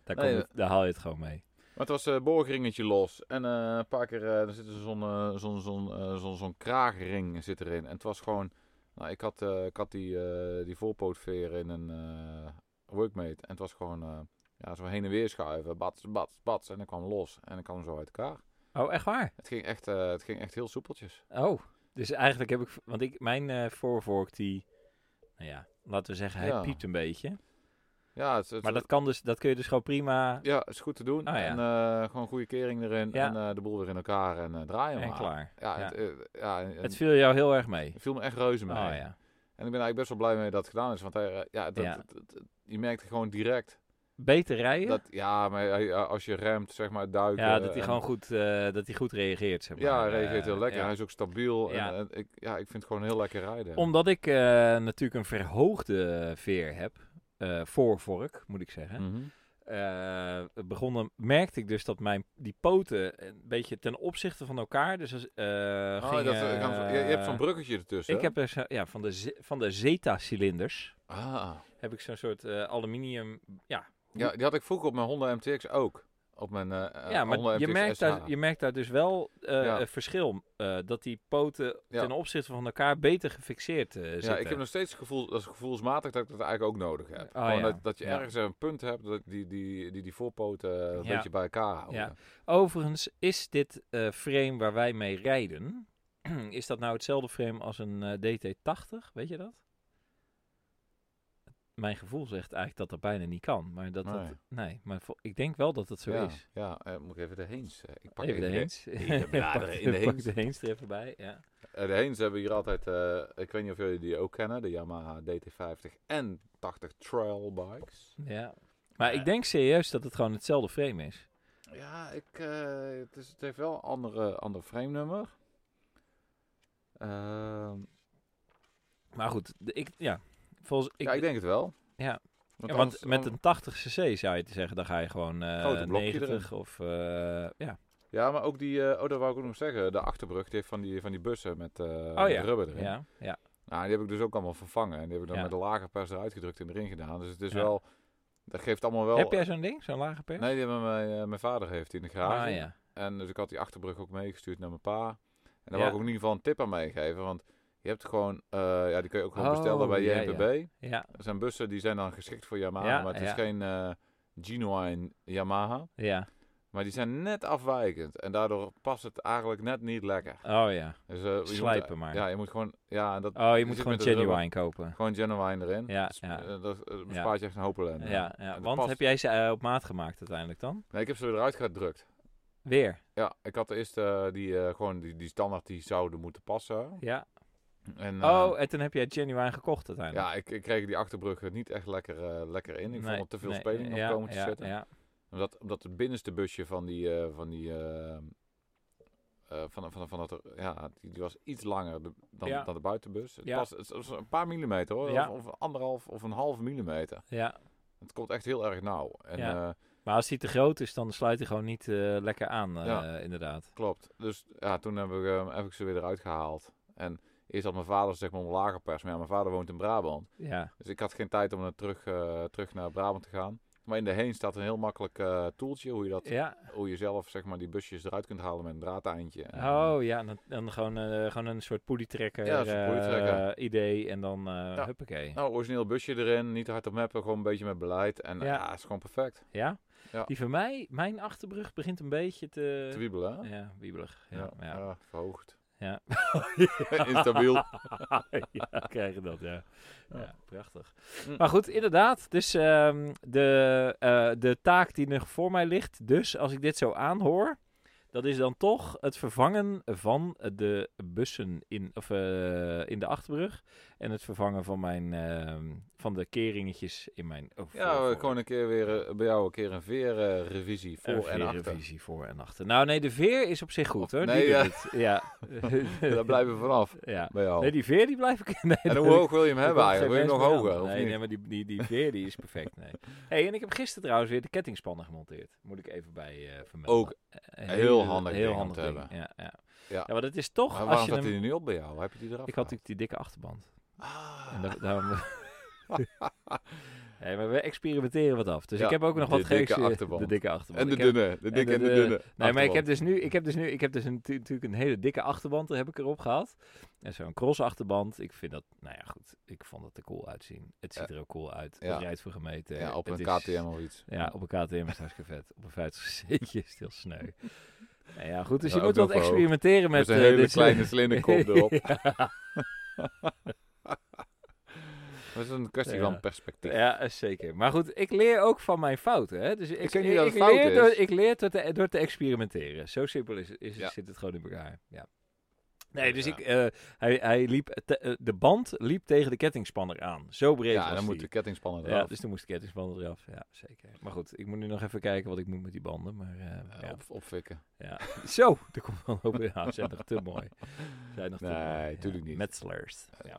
Speaker 1: Daar,
Speaker 2: Nee, eh.
Speaker 1: komt het- daar haal je het gewoon mee.
Speaker 2: Maar het was eh borgringetje los. En eh, een paar keer eh, er zit er zo'n eh, zo'n zo'n eh, zo'n- zo'n kraagring zit erin. En het was gewoon... Nou, ik had, eh, ik had die, eh, die voorpootveer in een eh, workmate. En het was gewoon eh, ja, zo heen en weer schuiven. Bats, bats, bats. En dan kwam los. En dan kwam hem zo uit elkaar.
Speaker 1: Oh, echt waar?
Speaker 2: Het ging echt, eh, het ging echt heel soepeltjes.
Speaker 1: Oh, dus eigenlijk heb ik... Want ik, mijn eh, voorvork die... Nou ja, laten we zeggen, hij
Speaker 2: Ja.
Speaker 1: piept een beetje.
Speaker 2: Ja, het, het,
Speaker 1: Maar dat, kan dus, dat kun je dus gewoon prima...
Speaker 2: ja, het is goed te doen.
Speaker 1: Ah, ja.
Speaker 2: En eh, gewoon goede kering erin.
Speaker 1: Ja.
Speaker 2: En eh, de boel weer in elkaar. En eh, draaien
Speaker 1: en
Speaker 2: maar.
Speaker 1: klaar.
Speaker 2: Ja,
Speaker 1: Ja.
Speaker 2: Het, eh, ja, en-
Speaker 1: Het viel jou heel erg mee.
Speaker 2: het viel me echt reuze
Speaker 1: Oh
Speaker 2: mee.
Speaker 1: ja.
Speaker 2: En ik ben eigenlijk best wel blij mee dat het gedaan is. Want hij, eh, ja, dat,
Speaker 1: Ja.
Speaker 2: dat- dat- je merkt gewoon direct.
Speaker 1: Beter rijden?
Speaker 2: Dat, ja, maar hij- hij- als je remt, zeg maar, duiken.
Speaker 1: ja, dat hij
Speaker 2: en-
Speaker 1: gewoon goed, eh, dat hij goed reageert, zeg maar.
Speaker 2: Ja, hij reageert
Speaker 1: Eh,
Speaker 2: heel lekker.
Speaker 1: ja.
Speaker 2: Hij is ook stabiel.
Speaker 1: Ja.
Speaker 2: En, en ik, ja, ik vind het gewoon heel lekker rijden.
Speaker 1: Omdat ik eh, natuurlijk een verhoogde veer heb, eh, voorvork moet ik zeggen,
Speaker 2: Mhm.
Speaker 1: eh, begonnen merkte ik dus dat mijn, die poten een beetje ten opzichte van elkaar, dus als, eh,
Speaker 2: Oh,
Speaker 1: gingen,
Speaker 2: dat, eh, kan- je, je hebt zo'n
Speaker 1: eh,
Speaker 2: bruggetje ertussen.
Speaker 1: Ik
Speaker 2: hè?
Speaker 1: heb er zo, ja, van de, ze- van de Zeta-cilinders
Speaker 2: Ah,
Speaker 1: heb ik zo'n soort eh, aluminium, ja,
Speaker 2: ja, die had ik vroeger op mijn Honda MTX ook. Op mijn eh
Speaker 1: ja, maar je merkt, daar,
Speaker 2: dat
Speaker 1: je merkt daar dus wel eh,
Speaker 2: Ja.
Speaker 1: een verschil. eh, dat die poten
Speaker 2: Ja.
Speaker 1: ten opzichte van elkaar beter gefixeerd eh, zitten.
Speaker 2: Ja, ik heb nog steeds het gevoel, dat is gevoelsmatig dat ik dat eigenlijk ook nodig heb.
Speaker 1: Oh,
Speaker 2: Gewoon
Speaker 1: ja.
Speaker 2: dat, dat je
Speaker 1: Ja.
Speaker 2: ergens een punt hebt dat die, die, die, die voorpoten eh, een
Speaker 1: Ja.
Speaker 2: beetje bij elkaar houden.
Speaker 1: Ja. Overigens, is dit eh, frame waar wij mee rijden... is dat nou hetzelfde frame als een eh, DT80? Weet je dat? Mijn gevoel zegt eigenlijk dat dat bijna niet kan. Maar dat nee.
Speaker 2: Nee.
Speaker 1: Dat, nee, maar vo- ik denk wel dat het zo
Speaker 2: ja.
Speaker 1: is.
Speaker 2: Ja, eh, moet ik even de Heens. eh, Ik pak
Speaker 1: Even de
Speaker 2: even de,
Speaker 1: heens.
Speaker 2: de bladeren
Speaker 1: Pak-
Speaker 2: in de
Speaker 1: pak
Speaker 2: heens.
Speaker 1: de heens er even bij, ja.
Speaker 2: eh, de Heens hebben hier altijd, eh, ik weet niet of jullie die ook kennen, de Yamaha DT50 en 80 trail bikes.
Speaker 1: ja. Maar
Speaker 2: Eh.
Speaker 1: ik denk serieus dat het gewoon hetzelfde frame is.
Speaker 2: Ja, ik, eh, het, is, het heeft wel een andere, ander frame nummer. Ehm,
Speaker 1: Maar goed, de- ik, ja. Volgens, ik,
Speaker 2: ja, ik denk het wel.
Speaker 1: Ja.
Speaker 2: Want,
Speaker 1: ja, want
Speaker 2: anders-
Speaker 1: met een 80 cc zou je te zeggen, dan ga je gewoon eh
Speaker 2: Grote blokje
Speaker 1: 90 of... eh, ja.
Speaker 2: Ja, maar ook die, eh, oh, dat wou ik ook nog zeggen. De achterbrug, die heeft van die, van die bussen met, eh
Speaker 1: Oh
Speaker 2: met
Speaker 1: ja.
Speaker 2: rubber erin.
Speaker 1: ja, ja.
Speaker 2: Nou, die heb ik dus ook allemaal vervangen. En die heb ik dan
Speaker 1: Ja.
Speaker 2: met de lage pers eruit gedrukt en erin gedaan. Dus het is
Speaker 1: Ja.
Speaker 2: wel, dat geeft allemaal wel...
Speaker 1: Heb jij zo'n ding, zo'n lage pers?
Speaker 2: Nee, die hebben mijn, eh, mijn vader heeft die in de garage.
Speaker 1: ah, ja.
Speaker 2: En dus ik had die achterbrug ook meegestuurd naar mijn pa. En
Speaker 1: Ja.
Speaker 2: daar wou ik ook in ieder geval een tip aan meegeven. Want je hebt gewoon, eh, ja, die kun je ook gewoon
Speaker 1: Oh,
Speaker 2: bestellen bij
Speaker 1: ja,
Speaker 2: JPB.
Speaker 1: ja,
Speaker 2: Dat zijn bussen, die zijn dan geschikt voor Yamaha.
Speaker 1: Ja,
Speaker 2: maar het
Speaker 1: ja.
Speaker 2: is geen eh, genuine Yamaha.
Speaker 1: ja.
Speaker 2: Maar die zijn net afwijkend. En daardoor past het eigenlijk net niet lekker.
Speaker 1: Oh ja.
Speaker 2: Dus, eh, je moet-
Speaker 1: Slijpen maar.
Speaker 2: Ja, je moet gewoon... Ja, dat,
Speaker 1: Oh, je
Speaker 2: je
Speaker 1: moet
Speaker 2: zit
Speaker 1: gewoon
Speaker 2: met het rubber.
Speaker 1: genuine kopen.
Speaker 2: Gewoon genuine erin.
Speaker 1: Ja,
Speaker 2: Dat, is-
Speaker 1: ja.
Speaker 2: eh, dat eh, bespaart je echt een hoop ellende.
Speaker 1: Ja, ja,
Speaker 2: dat
Speaker 1: want
Speaker 2: past.
Speaker 1: heb jij ze eh, op maat gemaakt uiteindelijk dan?
Speaker 2: Nee, ik heb ze weer eruit gedrukt.
Speaker 1: Weer?
Speaker 2: Ja, ik had eerst eh, die, eh, gewoon die, die standaard die zouden moeten passen.
Speaker 1: Ja.
Speaker 2: En, eh,
Speaker 1: oh, en toen heb jij genuine gekocht uiteindelijk?
Speaker 2: ja, ik, ik kreeg die achterbrug er niet echt lekker, eh, lekker in. Ik
Speaker 1: Nee,
Speaker 2: vond er te veel
Speaker 1: nee,
Speaker 2: speling op
Speaker 1: ja,
Speaker 2: komen te
Speaker 1: ja,
Speaker 2: zitten.
Speaker 1: Ja,
Speaker 2: Omdat, omdat het binnenste busje van die... eh, van die eh, eh, van, van, van dat, ja, die, die was iets langer de- dan,
Speaker 1: Ja.
Speaker 2: dan de buitenbus. Het,
Speaker 1: Ja.
Speaker 2: was, het was een paar millimeter hoor.
Speaker 1: Ja.
Speaker 2: Of, of anderhalf of een half millimeter.
Speaker 1: ja.
Speaker 2: Het komt echt heel erg nauw. En,
Speaker 1: Ja.
Speaker 2: eh,
Speaker 1: Maar als die te groot is, dan sluit hij gewoon niet eh, lekker aan, eh,
Speaker 2: Ja.
Speaker 1: inderdaad.
Speaker 2: Klopt. Dus ja, toen heb ik, eh, heb ik ze weer eruit gehaald. En eerst had mijn vader zeg maar om lager pers. Maar ja, mijn vader woont in Brabant.
Speaker 1: Ja.
Speaker 2: Dus ik had geen tijd om naar terug, eh, terug naar Brabant te gaan. Maar in de heen staat een heel makkelijk eh toeltje. Hoe je, dat,
Speaker 1: Ja.
Speaker 2: hoe je zelf zeg maar, die busjes eruit kunt halen met een draadeindje. En, eh,
Speaker 1: Oh ja, en dan, dan gewoon, eh, gewoon een soort poelietrekker
Speaker 2: Ja, een soort poelietrekker.
Speaker 1: eh, idee en dan eh
Speaker 2: Ja.
Speaker 1: huppakee.
Speaker 2: Nou, origineel busje erin. Niet te hard op mappen. Gewoon een beetje met beleid. En eh,
Speaker 1: Ja.
Speaker 2: ja, is gewoon perfect.
Speaker 1: Ja?
Speaker 2: Ja.
Speaker 1: Die van mij, mijn achterbrug begint een beetje te...
Speaker 2: Te wiebelen, hè?
Speaker 1: ja, wiebelig. Eh, Ja, ja.
Speaker 2: ja, verhoogd.
Speaker 1: Ja.
Speaker 2: Instabiel.
Speaker 1: ja, we krijgen dat, ja. Ja, prachtig.
Speaker 2: Mm.
Speaker 1: Maar goed, inderdaad. Dus ehm, de, eh, de taak die nog voor mij ligt, dus als ik dit zo aanhoor, dat is dan toch het vervangen van de bussen in, of, eh, in de achterbrug en het vervangen van, mijn, ehm, van de keringetjes in mijn. oh, voor-
Speaker 2: Ja,
Speaker 1: voor-
Speaker 2: gewoon een keer weer eh, bij jou een keer een veerrevisie
Speaker 1: een
Speaker 2: voor en achter.
Speaker 1: veerrevisie eh, voor en achter. Nou, nee, de veer is op zich goed hoor.
Speaker 2: Nee,
Speaker 1: die
Speaker 2: ja.
Speaker 1: doet het. ja.
Speaker 2: Daar blijven we vanaf.
Speaker 1: ja.
Speaker 2: Bij jou.
Speaker 1: Nee, die veer die blijf ik. Nee,
Speaker 2: En
Speaker 1: dat-
Speaker 2: hoe hoog wil je hem
Speaker 1: dat
Speaker 2: hebben
Speaker 1: komt
Speaker 2: eigenlijk? Wil
Speaker 1: geen
Speaker 2: je hem
Speaker 1: mens
Speaker 2: nog
Speaker 1: meer
Speaker 2: hoger?
Speaker 1: aan.
Speaker 2: Of
Speaker 1: Nee,
Speaker 2: niet?
Speaker 1: nee, maar die, die, die veer die is perfect. Nee. hey, en ik heb gisteren trouwens weer de kettingspannen gemonteerd. Moet ik even bij eh vermelden.
Speaker 2: Ook
Speaker 1: Een
Speaker 2: heel handig
Speaker 1: heel
Speaker 2: ding om
Speaker 1: handig
Speaker 2: te
Speaker 1: ding.
Speaker 2: hebben.
Speaker 1: Ja, ja.
Speaker 2: Ja.
Speaker 1: Ja. maar dat is toch
Speaker 2: maar
Speaker 1: als
Speaker 2: waarom
Speaker 1: je
Speaker 2: staat
Speaker 1: hem-
Speaker 2: hij er niet op bij jou? Heb je die eraf
Speaker 1: Ik had
Speaker 2: gehaald?
Speaker 1: natuurlijk die dikke achterband. En
Speaker 2: Ah,
Speaker 1: daar, daarom... Hey, maar we experimenteren wat af. Dus
Speaker 2: Ja,
Speaker 1: ik heb ook nog
Speaker 2: de
Speaker 1: wat
Speaker 2: dikke
Speaker 1: geeks. eh,
Speaker 2: achterband.
Speaker 1: De dikke achterband.
Speaker 2: en de
Speaker 1: Ik heb-
Speaker 2: dunne. De dikke en de
Speaker 1: de-
Speaker 2: dunne.
Speaker 1: Nee, maar ik heb
Speaker 2: achterwand.
Speaker 1: dus nu, ik heb dus nu, ik heb dus een, tu- natuurlijk een hele dikke achterband, daar heb ik erop gehad. En zo'n cross achterband, ik vind dat, nou ja goed, ik vond het er cool uitzien. Het ziet er ook cool uit,
Speaker 2: Ja.
Speaker 1: het rijdt voor gemeten.
Speaker 2: Ja, op een
Speaker 1: het is-
Speaker 2: KTM of iets.
Speaker 1: Ja, op een KTM is het hartstikke vet. Op een 50 cc is het heel sneu. Nou ja, goed, dus
Speaker 2: Ja,
Speaker 1: je
Speaker 2: ook
Speaker 1: moet wat
Speaker 2: nog wel.
Speaker 1: experimenteren met...
Speaker 2: Met een
Speaker 1: eh,
Speaker 2: hele
Speaker 1: dit
Speaker 2: kleine
Speaker 1: soort-
Speaker 2: slinderkop erop.
Speaker 1: Ja.
Speaker 2: Dat is een kwestie
Speaker 1: Ja.
Speaker 2: van perspectief.
Speaker 1: Ja, eh, zeker. Maar goed, ik leer ook van mijn fouten. Hè? Dus ik,
Speaker 2: Ik weet niet dat het fout
Speaker 1: leer
Speaker 2: is.
Speaker 1: Door, ik leer door te, door te experimenteren. Zo simpel is, is,
Speaker 2: Ja.
Speaker 1: zit het gewoon in elkaar. Ja. Nee, dus
Speaker 2: Ja.
Speaker 1: ik, eh, hij, hij liep te- eh, de band liep tegen de kettingspanner aan. Zo breed
Speaker 2: Ja,
Speaker 1: was
Speaker 2: dan
Speaker 1: die.
Speaker 2: moet de kettingspannen
Speaker 1: ja,
Speaker 2: eraf.
Speaker 1: dus toen moest de kettingspanner eraf. Ja, zeker. Maar goed, ik moet nu nog even kijken wat ik moet met die banden. Maar, eh,
Speaker 2: Eh,
Speaker 1: ja.
Speaker 2: op- Opfikken.
Speaker 1: Ja. Zo, er komt wel een hoop in. Ja, ze zijn nog te mooi. Ze Zijn nog te
Speaker 2: Nee,
Speaker 1: mooi.
Speaker 2: tuurlijk
Speaker 1: ja.
Speaker 2: niet.
Speaker 1: Metselers. Ja.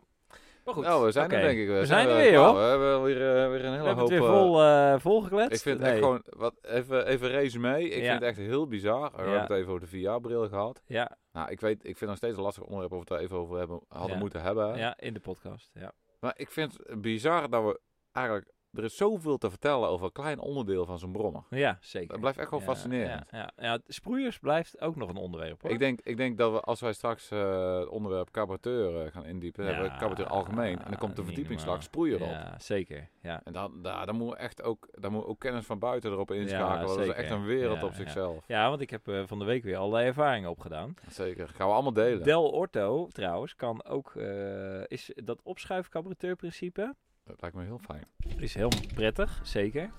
Speaker 1: Maar goed.
Speaker 2: Nou, we zijn
Speaker 1: Oké.
Speaker 2: er denk ik.
Speaker 1: We zijn er
Speaker 2: eh,
Speaker 1: weer,
Speaker 2: klaar.
Speaker 1: hoor.
Speaker 2: We hebben weer, eh, weer een
Speaker 1: We
Speaker 2: hele
Speaker 1: hebben
Speaker 2: hoop...
Speaker 1: het weer
Speaker 2: eh,
Speaker 1: vol, eh volgekletst.
Speaker 2: Ik vind het
Speaker 1: Nee.
Speaker 2: echt gewoon... Wat, even, even resume. Ik
Speaker 1: Ja.
Speaker 2: vind het echt heel bizar. We hebben
Speaker 1: Ja.
Speaker 2: het even over de VR-bril gehad.
Speaker 1: Ja,
Speaker 2: Nou, ik weet, ik vind het nog steeds een lastig onderwerp of we het daar even over hebben, hadden
Speaker 1: Ja.
Speaker 2: moeten hebben.
Speaker 1: Ja, in de podcast. Ja.
Speaker 2: Maar ik vind het bizar dat we eigenlijk er is zoveel te vertellen over een klein onderdeel van zo'n brommer.
Speaker 1: Ja, zeker.
Speaker 2: Dat blijft echt wel
Speaker 1: Ja,
Speaker 2: fascinerend.
Speaker 1: Ja, ja, ja, sproeiers blijft ook nog een onderwerp hoor.
Speaker 2: Ik denk, ik denk dat we, als wij straks eh, het onderwerp caboteur eh, gaan indiepen, dan hebben
Speaker 1: Ja,
Speaker 2: we caboteur algemeen. En dan komt de
Speaker 1: niet
Speaker 2: verdiepingsslag
Speaker 1: normaal.
Speaker 2: sproeier op.
Speaker 1: Ja, zeker. Ja.
Speaker 2: En dan, daar, dan moet we echt ook, daar moet ook kennis van buiten erop inschakelen. dat is
Speaker 1: zeker.
Speaker 2: echt een wereld
Speaker 1: Ja,
Speaker 2: op
Speaker 1: ja.
Speaker 2: zichzelf.
Speaker 1: ja, want ik heb eh, van de week weer allerlei ervaringen opgedaan.
Speaker 2: Zeker. Gaan we allemaal delen.
Speaker 1: Del Orto trouwens kan ook, eh, is dat opschuifcarburateurprincipe
Speaker 2: dat lijkt me heel fijn.
Speaker 1: is heel prettig, zeker.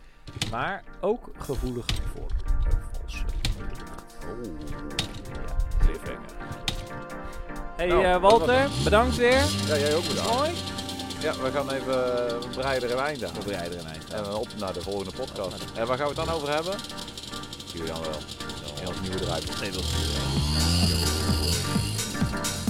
Speaker 1: Maar ook gevoelig voor valse lucht. Ja. Hey
Speaker 2: Nou,
Speaker 1: eh,
Speaker 2: dat was
Speaker 1: Walter, bedankt weer.
Speaker 2: Ja, jij ook bedankt.
Speaker 1: Mooi.
Speaker 2: Ja, we gaan even eh, we breiden er een eind aan.
Speaker 1: We bereiden een eind.
Speaker 2: En dan op naar de volgende podcast. En waar gaan we het dan over hebben? Zie je dan wel. In ons nieuwe bedrijf.
Speaker 1: Nee, dat